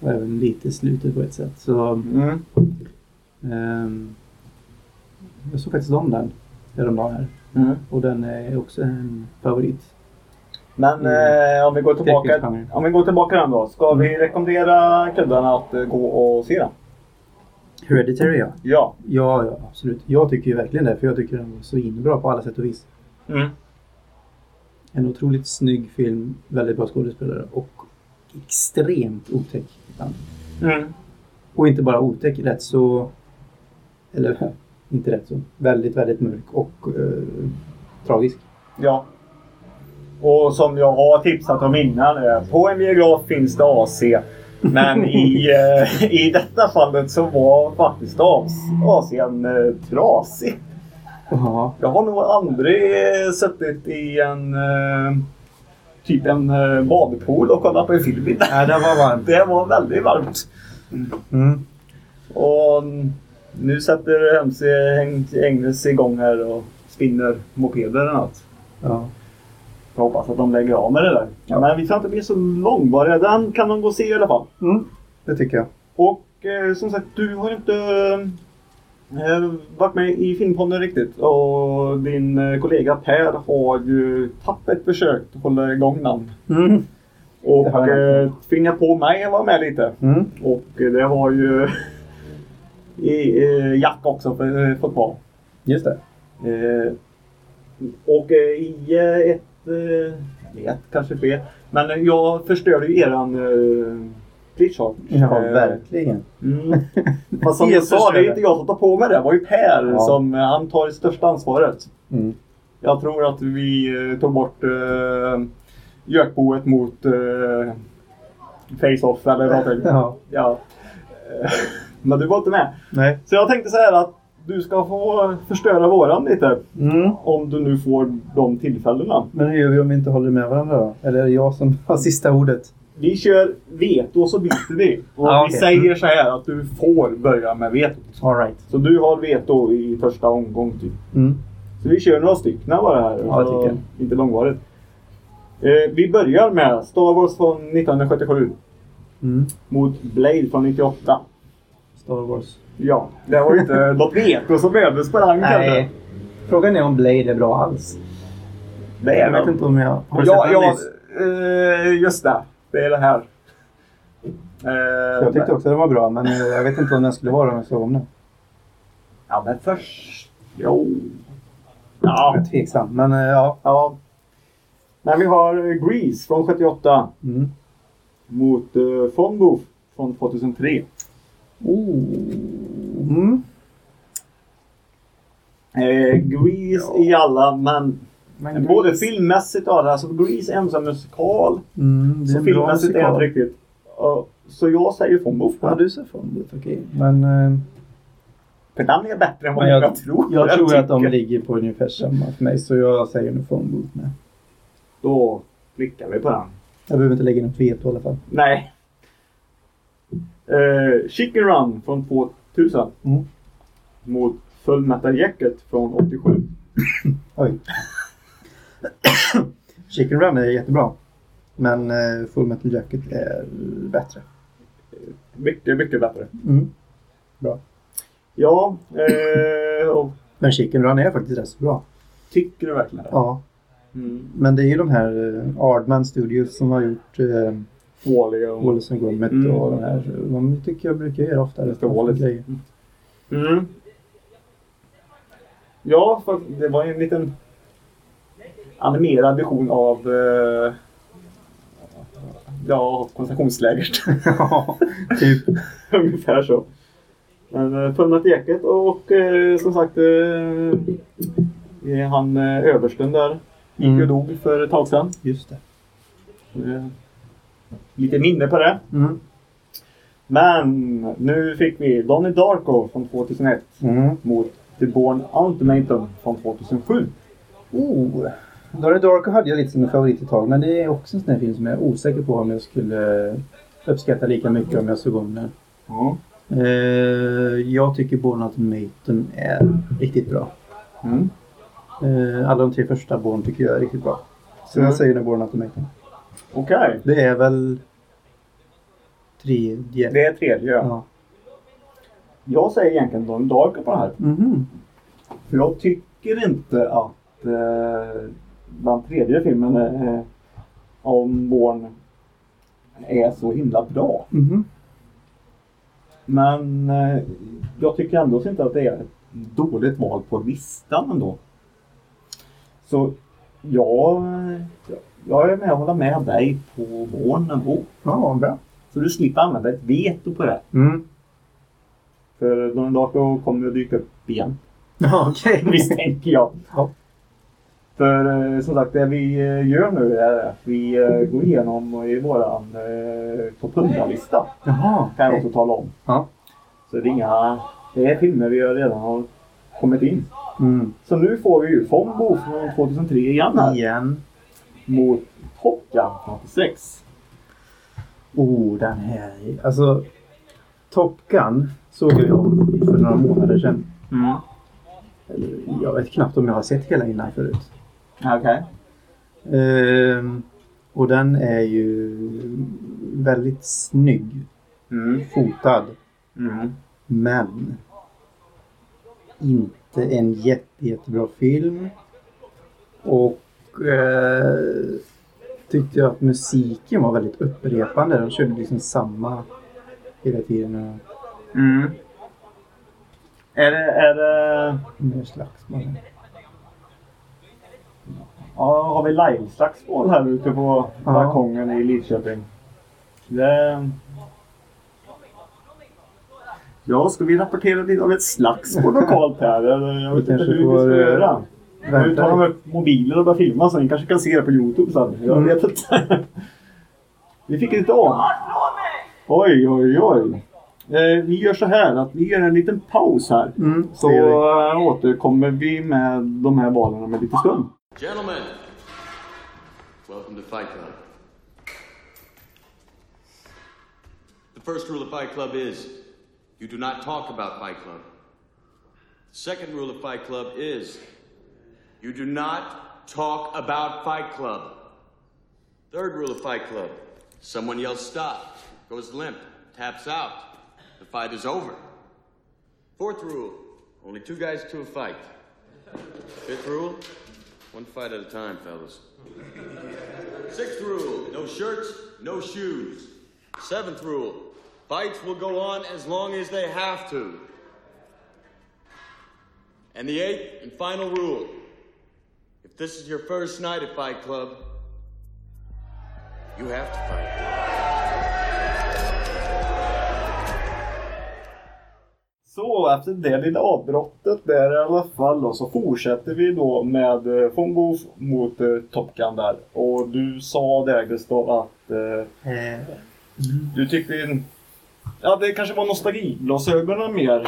S3: Och även lite slutet på ett sätt. Så
S1: Mm.
S3: ehm, jag såg faktiskt om den häromdagen här.
S1: Mm.
S3: Och den är också en favorit.
S1: Men
S3: Mm.
S1: eh, om vi går tillbaka
S3: Skräckfilmsgenre.
S1: om vi går tillbaka den då. Ska
S3: Mm.
S1: vi rekommendera kuddarna att eh, gå och se den?
S3: Hereditary ja.
S1: Ja.
S3: ja. Ja, absolut. Jag tycker ju verkligen det. För jag tycker den var så inbra på alla sätt och vis.
S1: Mm.
S3: En otroligt snygg film. Väldigt bra skådespelare. Och extremt otäck. ibland.
S1: Mm.
S3: Och inte bara otäck, rätt så... Eller inte rätt så. Väldigt, väldigt mörk och eh, tragisk.
S1: Ja. Och som jag har tipsat om innan, eh, på en biograf finns det AC. Men i, eh, i detta fallet så var faktiskt AC'n eh, trasig.
S3: Ja.
S1: Jag har nog aldrig eh, suttit i en eh, typ en eh, badpool och kollat på en film innan.
S3: Nej, det var varmt.
S1: Det var väldigt varmt.
S3: Mm.
S1: Och mm, nu sätter MC Eng- Engels igång här och spinner mopeder eller något.
S3: Ja.
S1: Jag hoppas att de lägger av med det där. Men vi ska inte bli så långvariga. Den kan de gå och se i alla fall.
S3: Mm. Det tycker jag.
S1: Och eh, som sagt, du har inte eh, varit med i Filmpodden riktigt. Och din eh, kollega Per har ju tappert försökt hålla igång den.
S3: Mm. Det har
S1: Och
S3: han
S1: eh, tvingat på mig att vara med lite.
S3: Mm.
S1: Och eh, det har ju i, eh, Jack också eh, fått vara.
S3: Just det.
S1: Eh, och eh, i eh, ett, eh, ett kanske fel, men eh, jag förstörde ju eran eh, Pritchard.
S3: Ja,
S1: Eh,
S3: verkligen.
S1: Mm. Fast som jag
S3: Helt
S1: sa, det är ju
S3: förstörde.
S1: inte jag som tar på mig det. Det var ju Per
S3: Ja.
S1: som eh, han tar det största ansvaret.
S3: Mm.
S1: Jag tror att vi eh, tog bort eh, Jökboet mot eh, Face-Off eller någonting.
S3: Ja.
S1: ja. Eh, Men du var inte med.
S3: Nej.
S1: Så jag tänkte så här att du ska få förstöra våran lite.
S3: Mm.
S1: Om du nu får de tillfällena.
S3: Men hur gör vi om vi inte håller med varandra då? Eller är det jag som har sista ordet?
S1: Vi kör veto och så byter vi. Och
S3: Ja,
S1: vi
S3: okej.
S1: säger så här att du får börja med vetot.
S3: All right.
S1: Så du har veto i första omgång typ.
S3: Mm.
S1: Så vi kör några stycken bara här.
S2: Ja, det
S1: så
S2: tycker
S1: Inte långvarigt. Eh, vi börjar med Star Wars från 1977
S2: Mm.
S1: mot Blade från 98.
S2: Star Wars.
S1: Ja, det var ju inte något veto som övdes på den kanske.
S2: Nej. Frågan är om Blade är bra alls.
S1: Det
S2: Jag
S1: är
S2: vet
S1: den.
S2: inte om jag... Har du
S1: Ja,
S2: sett den
S1: ja
S2: nyss?
S1: eh, just det. Det är det här. Eh,
S3: Jag tyckte också den var bra, men eh, jag vet inte om den skulle vara om jag såg om den.
S1: Ja, men först... Jo. Ja.
S3: Jag är tveksam, men eh, ja.
S1: Ja. Nej, vi har eh, Grease från 78
S3: Mm.
S1: mot eh, Fongo från 2003.
S2: Oh. Mm.
S1: Eh, Grease i alla, men
S3: Men
S1: både filmmässigt och alla. Alltså Grease är ensam musikal.
S3: Mm, det är
S1: Så
S3: en bra
S1: filmmässigt är det inte
S3: musikal.
S1: riktigt. Ja, så jag säger Fongo.
S3: Ja, du ser från det. Okej. Men eh,
S1: För den är bättre än vad
S3: Men
S1: jag,
S3: jag-
S1: tror.
S3: jag tror att de
S1: tycker.
S3: ligger på ungefär samma för mig, så jag säger nog från Boot med.
S1: Då klickar vi på den.
S3: Jag behöver inte lägga något veto i alla fall.
S1: Nej. Eh, Chicken Run från 2000.
S3: Mm.
S1: Mot Full Metal Jacket från 87.
S3: Oj. Chicken Run är jättebra. Men eh, Full Metal Jacket är bättre.
S1: Mycket, mycket bättre.
S3: Mm.
S1: Ja, eh, och
S3: Men Chicken Run är faktiskt rätt så bra.
S1: tycker du verkligen det?
S3: Ja.
S1: Mm.
S3: Men det är ju de här eh, Ardman Studios som har gjort eh,
S1: Fåliga och...
S3: Wallace and Gromit
S1: Mm.
S3: och de här. De tycker jag brukar göra ofta. rätt
S1: Mr. Wallace.
S3: grejer.
S1: Mm. Ja, för det var ju en liten animerad version av eh, ja, koncentrationslägret.
S3: Ja, typ.
S1: Ungefär så. Men eh, Fullnut Jacket och eh, som sagt eh, han eh, översten där gick ju och
S3: Mm.
S1: dog för ett tag sedan.
S3: Just det.
S1: Eh, lite minne på det.
S3: Mm.
S1: Men nu fick vi Donnie Darko från 2001
S3: Mm.
S1: mot The Born Ultimatum från 2007.
S3: Oh. Donnie Darko hade jag lite som en favorit ett tag, men det är också en sån här film som jag är osäker på om jag skulle eh, uppskatta lika mycket om jag såg om den. Eh, jag tycker Born Ultimatum är riktigt bra.
S1: Mm.
S3: Eh, alla de tre första Born tycker jag är riktigt bra. Så
S1: Mm.
S3: jag säger nu Born Ultimatum.
S1: Okej,
S3: Det är väl tredje.
S1: det är tredje.
S3: Ja.
S1: Jag säger egentligen Donnie Darko på det här.
S3: Mhm.
S1: För jag tycker inte att eh, den tredje filmen eh, om Born är så himla bra.
S3: Mhm.
S1: Men eh, jag tycker ändå inte att det är ett dåligt val på listan ändå. Så jag, jag är med och håller med dig på vår nivå.
S3: Ja, bra.
S1: Så du slipper använda ett veto på det.
S3: Mm.
S1: För någon dag då kommer det att dyka upp igen.
S3: Ja, Okej.
S1: misstänker jag.
S3: Ja.
S1: För eh, som sagt, det vi eh, gör nu är att vi eh, går igenom i våran eh, topp 100-lista.
S3: Jaha.
S1: Kan jag
S3: okej.
S1: också tala om.
S3: Ja.
S1: Så det är inga... Det är filmer vi redan har kommit in.
S3: Mm.
S1: Så nu får vi ju Fombo från 2003 igen här.
S3: Igen.
S1: Mot Top Gun från 86.
S3: Oh, den här. Alltså, Top Gun såg jag ju om för några månader sedan.
S1: Mm.
S3: Eller, Jag vet knappt om jag har sett hela innan förut.
S1: Okej.
S3: Ehm, och den är ju väldigt snygg
S1: Mm.
S3: fotad.
S1: Mm.
S3: Men inte en jätte, jättebra film. Och eh, tyckte jag att musiken var väldigt upprepande. De körde liksom samma hela tiden.
S1: Mm. Är det... Är det...
S3: Och mer slagsmål.
S1: Ja, har vi liveslagsmål här ute på
S3: Ja.
S1: balkongen i Lidköping? Det... Ja, ska vi rapportera lite av ett slagsmål lokalt här? Eller Jag vet inte
S3: Vi kanske
S1: hur vi
S3: får,
S1: ska
S3: eh,
S1: göra. Nu tar de
S3: Vänta.
S1: upp mobiler och börjar filma så ni kanske kan se det på Youtube sen. Jag
S3: Mm.
S1: vet inte. Vi fick inte om. Oj, oj, oj. Eh, vi gör så här att vi gör en liten paus här.
S3: Mm,
S1: Så
S3: det gör vi.
S1: eh, återkommer vi med de här valen om en liten stund.
S4: Gentlemen, welcome to Fight Club. The first rule of Fight Club is you do not talk about Fight Club. The second rule of Fight Club is You do not talk about Fight Club. Third rule of Fight Club someone yells stop, goes limp, taps out. The fight is over. Fourth rule only two guys to a fight. Fifth rule one fight at a time, fellas. Sixth rule no shirts, no shoes. Seventh rule fights will go on as long as they have to. And the eighth and final rule if this is your first night at Fight Club, you have to fight.
S1: Så efter det lilla avbrottet där i alla fall då, så fortsätter vi då med eh, Von Goof mot eh, Top Gun där. Och du sa där Gustav att eh, du tyckte... Ja, det kanske var nostalgiglasögonen mer.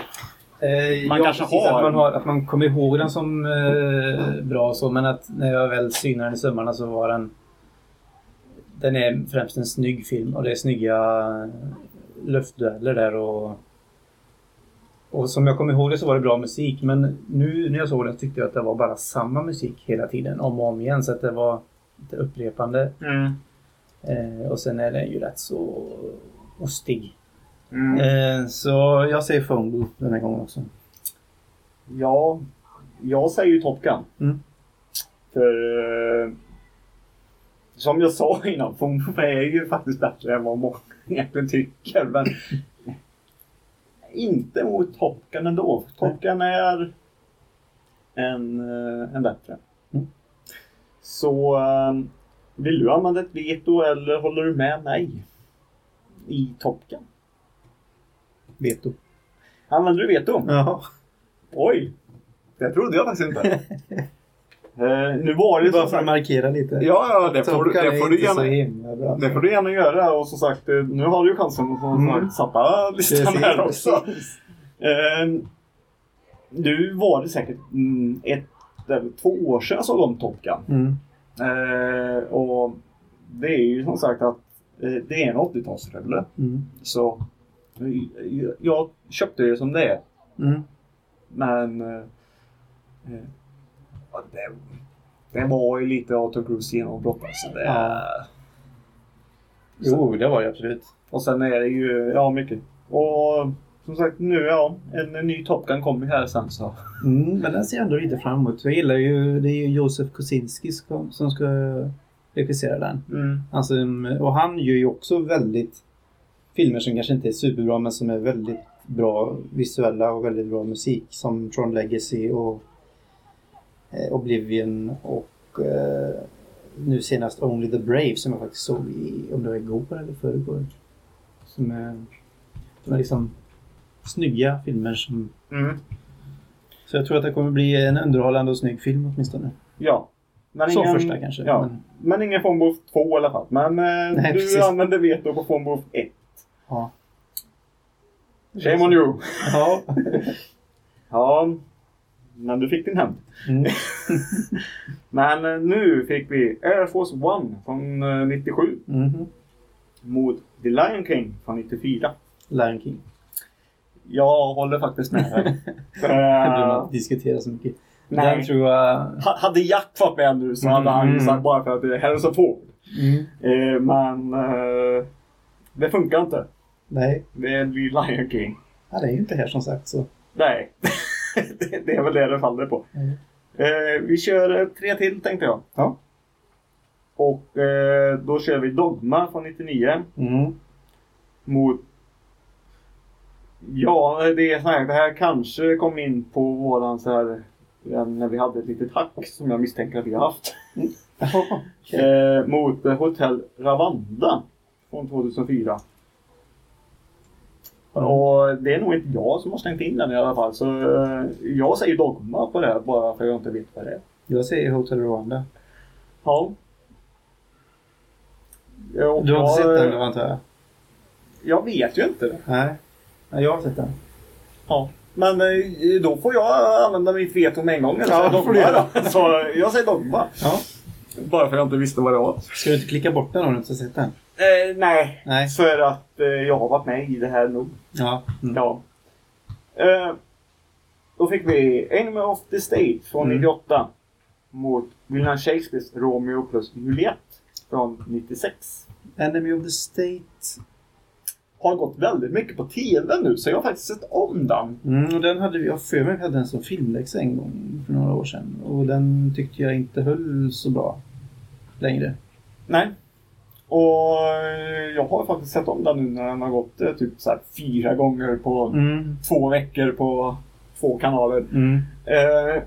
S3: Eh,
S1: Man
S3: ja,
S1: kanske
S3: precis,
S1: har-
S3: Att man, har, att man kommer ihåg den som eh, bra så, men att när jag väl synade den i sömmarna så var den... Den är främst en snygg film och det är snygga luftdueller där och... Och som jag kommer ihåg det så var det bra musik, men nu när jag såg den så tyckte jag att det var bara samma musik hela tiden, om och om igen, så att det var lite upprepande. Eh, och sen är den ju rätt så ostig. Eh, så jag säger Phone Booth den här gången också.
S1: Ja, jag säger ju Top Gun.
S3: Mm.
S1: För eh, som jag sa innan, Fomfo är ju faktiskt bättre än vad många egentligen tycker. Men inte mot Top Gun ändå. för Top Gun är en, eh, en bättre. Så eh, vill du använda ett veto eller håller du med mig i Top Gun?
S3: Veto.
S1: Använder du veto?
S3: Ja.
S1: Oj! Det trodde jag faktiskt inte. eh, nu var det som
S3: Bara för att
S1: sagt...
S3: markera lite.
S1: Ja, ja, det får, du- det, får du
S3: så
S1: gärna,
S3: himla bra.
S1: det får du gärna göra. Och som sagt, eh, nu har du ju chansen att få mm. sappa listan
S3: Precis,
S1: här också.
S3: precis.
S1: Eh, nu var det säkert mm, ett eller två år sedan jag såg om Top Gun.
S3: Mm.
S1: Eh, och det är ju som sagt att eh, det är en 80-talsrulle.
S3: Mm.
S1: Så eh, jag köpte det som det är.
S3: Mm.
S1: Men... Eh, eh, ja, det, det var ju lite Arthur Cruz genombrott alltså. Det,
S3: Ja. Jo, det var det absolut.
S1: Och sen är det ju, ja mycket. Och som sagt nu, ja. En, en ny Top Gun kommer ju här sen så.
S3: Mm, men den ser jag ändå lite fram emot. Jag gillar ju, det är ju Josef Kosinski som, som ska regissera den. Alltså, och han gör ju också väldigt filmer som kanske inte är superbra men som är väldigt bra visuella och väldigt bra musik som Tron Legacy och eh, Oblivion och eh, nu senast Only the Brave som jag faktiskt såg i, om det var igår eller förrgår. Som är, som är liksom snygga filmer som...
S1: Mm.
S3: Så jag tror att det kommer bli en underhållande och snygg film åtminstone.
S1: Ja. Men
S3: Som första kanske,
S1: Ja.
S3: men-
S1: Men, ingen Fonboof 2 i alla fall. Men eh, du
S3: Nej, precis.
S1: använder veto på Fonboof 1.
S3: Ja.
S1: Shame on you!
S3: Ja.
S1: Ja. Men du fick din hämnd.
S3: Mm.
S1: Men eh, nu fick vi Air Force One från eh, 97.
S3: Mhm.
S1: mot The Lion King från 94.
S3: Lion King.
S1: Jag håller faktiskt med dig.
S3: Det behöver
S1: Eh,
S3: man inte diskutera så mycket.
S1: Nej.
S3: Den tror jag...
S1: ha- hade Jack varit med nu så hade han ju sagt bara för att det är hälsa på.
S3: Mm.
S1: Eh, men eh, det funkar inte.
S3: Nej,
S1: Det blir Lion King.
S3: han är ju inte här som sagt så.
S1: Nej, det, det är väl det det faller på.
S3: Mm.
S1: Eh, vi kör eh, tre till tänkte jag.
S3: Ja.
S1: Och eh, då kör vi Dogma från 99
S3: Mm.
S1: mot... Ja, det är så här, det här kanske kom in på våran så här... När vi hade ett litet hack som jag misstänker att vi har haft. Eh, mot eh, Hotel Ravanda från 2004.
S3: Mm.
S1: Och det är nog inte jag som har stängt in den i alla fall. Så eh, jag säger Dogma på det här bara för att jag inte vet vad det är.
S3: Jag säger Hotel Rwanda.
S1: Ja. Och
S3: Du har inte
S1: jag-
S3: sett den då antar jag?
S1: Jag vet ju inte.
S3: Nej. Nej, jag har sett den.
S1: Ja. Men eh, då får jag använda mitt veto med en gång. Eller?
S3: Ja,
S1: Ja,
S3: då
S1: då
S3: får du göra.
S1: Så jag säger dogma.
S3: Ja.
S1: Bara för att jag inte visste vad det var.
S3: Ska du inte klicka bort den om du inte har sett den?
S1: Eh, nej.
S3: Nej.
S1: För att eh, jag har varit med i det här nog.
S3: Ja. Mm.
S1: Ja.
S3: Mm.
S1: Eh, då fick vi Enemy of the State från 98. mot William Shakespeares Romeo plus Juliet från 96.
S3: Enemy of the State.
S1: Har gått väldigt mycket på TV nu så jag har faktiskt sett om den.
S3: Mm, och den hade vi, jag för mig vi hade den som filmläxa en gång för några år sedan. Och den tyckte jag inte höll så bra längre.
S1: Nej. Och eh, jag har faktiskt sett om den nu när den har gått eh, typ så här fyra gånger på
S3: Mm.
S1: två veckor på två kanaler.
S3: Mm.
S1: Eh,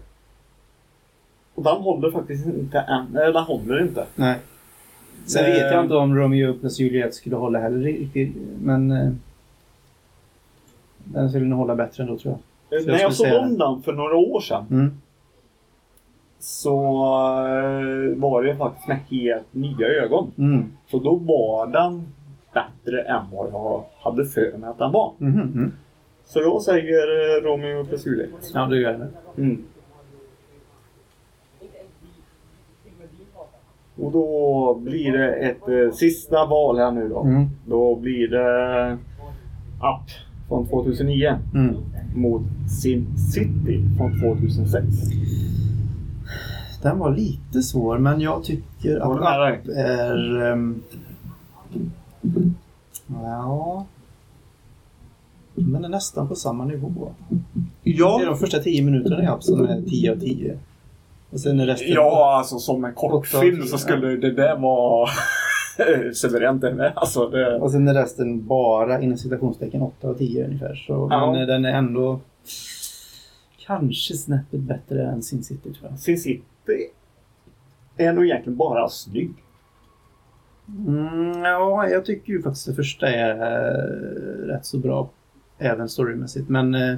S1: och den håller faktiskt inte än. Nej, den håller inte.
S3: Nej. Sen
S1: Eh.
S3: vet jag inte om Romeo plus Juliet skulle hålla heller riktigt. Men eh, den skulle nog hålla bättre ändå tror jag.
S1: Eh,
S3: Så jag
S1: När jag
S3: skulle
S1: såg
S3: säga
S1: om den för några år sedan
S3: Mm.
S1: så eh, var det faktiskt med helt nya ögon.
S3: Mm.
S1: Så då var den bättre än vad jag hade för mig att den var.
S3: Mhm, mhm.
S1: Så jag säger eh, Romeo plus Juliet.
S3: Ja, det gör jag.
S1: Mm. Och då blir det ett eh, sista val här nu då.
S3: Mm.
S1: Då blir det Up från 2009
S3: Mm.
S1: mot Sin City från 2006.
S3: Den var lite svår, men jag tycker
S1: Var
S3: att
S1: det nära dig?
S3: App är... ehm, ja... Men är nästan på samma nivå. Det är
S1: Ja,
S3: de första tio minuterna i App som är 10 av 10. Och sen är resten...
S1: ja alltså som en kortfilm så
S3: Åtta,
S1: skulle det där vara suveränt det med. Alltså, det...
S3: Och sen är resten bara, inom citationstecken, 8 av 10 ungefär. Så,
S1: Ja.
S3: Men eh, den är ändå kanske snäppet bättre än Sin City, tror jag.
S1: Sin City är nog egentligen bara snygg.
S3: Mm, ja, jag tycker ju faktiskt det första är eh, rätt så bra. Även storymässigt. Men... Eh,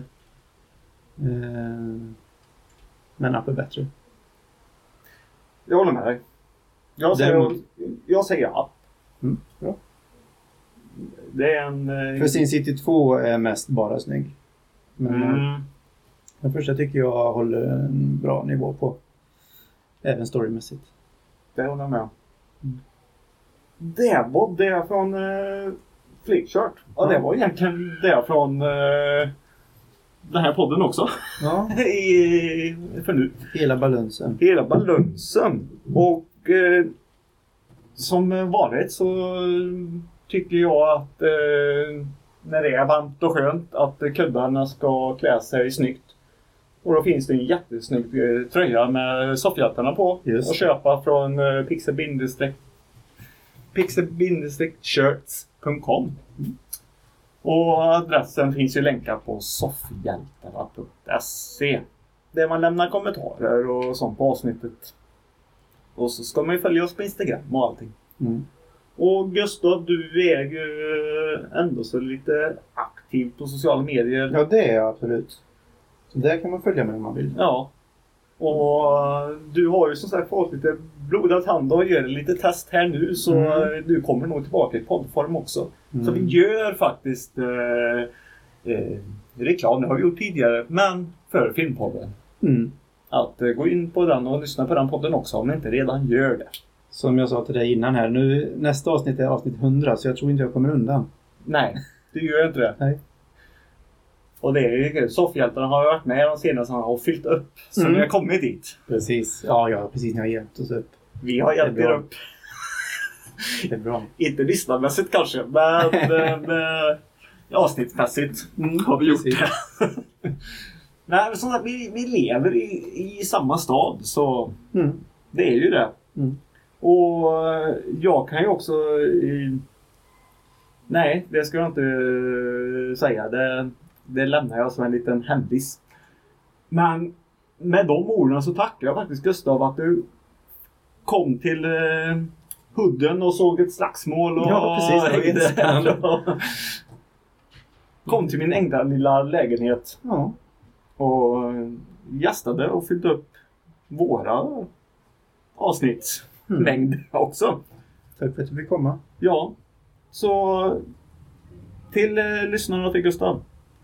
S3: eh, men App är bättre.
S1: Jag håller med dig. Jag säger,
S3: Däremot-
S1: jag säger Up.
S3: Mm, bra.
S1: Det är en... eh,
S3: För Sin City 2 är mest bara snygg. Men eh,
S1: Mm.
S3: den första tycker jag håller en bra nivå på. Även storymässigt.
S1: Det håller jag med om. Det var det från eh, Flickchart. Ja, det
S3: Ja.
S1: var egentligen det från eh, den här podden också.
S3: Ja,
S1: I, för nu.
S3: hela balansen.
S1: Hela balansen. Och eh, som vanligt så tycker jag att eh, när det är varmt och skönt att kuddarna ska klä sig snyggt. Och då finns det en jättesnygg eh, tröja med soffhjältarna på
S3: Just.
S1: att köpa från eh, pixel-bindestreck- pixel-shirts.com. Och adressen finns ju länkad på soffhjältarna.se. Där man lämnar kommentarer och sånt på avsnittet. Och så ska man ju följa oss på Instagram och allting.
S3: Mm.
S1: Och Gustav, du är ju eh, ändå så lite aktiv på sociala medier.
S3: Ja, det är jag absolut. Så där kan man följa med om man vill.
S1: Ja. Och eh, du har ju som sagt fått lite blodad hand och gör lite test här nu så eh,
S3: Mm.
S1: du kommer nog tillbaka i poddform också. Så vi
S3: Mm.
S1: gör faktiskt eh, eh, reklam, det har vi gjort tidigare, men för Filmpodden.
S3: Mm.
S1: Att eh, gå in på den och lyssna på den podden också om ni inte redan gör det.
S3: Som jag sa till dig innan här, nu, nästa avsnitt är avsnitt 100 så jag tror inte jag kommer undan.
S1: Nej, du gör inte det.
S3: Nej.
S1: Och det är ju kul. Soffhjältarna har ju varit med de senaste åren och fyllt upp. Så
S3: Mm.
S1: vi har kommit dit.
S3: Precis. Ja, ja precis. Ni har hjälpt oss upp.
S1: Vi har hjälpt
S3: Det är
S1: er
S3: bra.
S1: upp.
S3: Det är bra.
S1: Inte lyssnarmässigt kanske, men, men eh, avsnittsmässigt
S3: Mm,
S1: har vi gjort
S3: precis.
S1: det. Nej, men som sagt, vi, vi lever i, i samma stad, så
S3: Mm.
S1: det är ju det.
S3: Mm.
S1: Och eh, jag kan ju också... eh, Nej, det ska jag inte eh, säga. Det, det lämnar jag som en liten hemlis. Men med de orden så tackar jag faktiskt Gustav att du kom till eh, Hudden och såg ett slagsmål. Och
S3: Ja, precis. Det var
S1: hängde
S3: jättespännande.
S1: här och Kom till min enkla lilla lägenhet
S3: Ja.
S1: och eh, gästade och fyllde upp våra avsnitt
S3: Mm.
S1: mängd också.
S3: Tack för att du fick komma.
S1: Ja, så till eh, lyssnarna och till Gustav.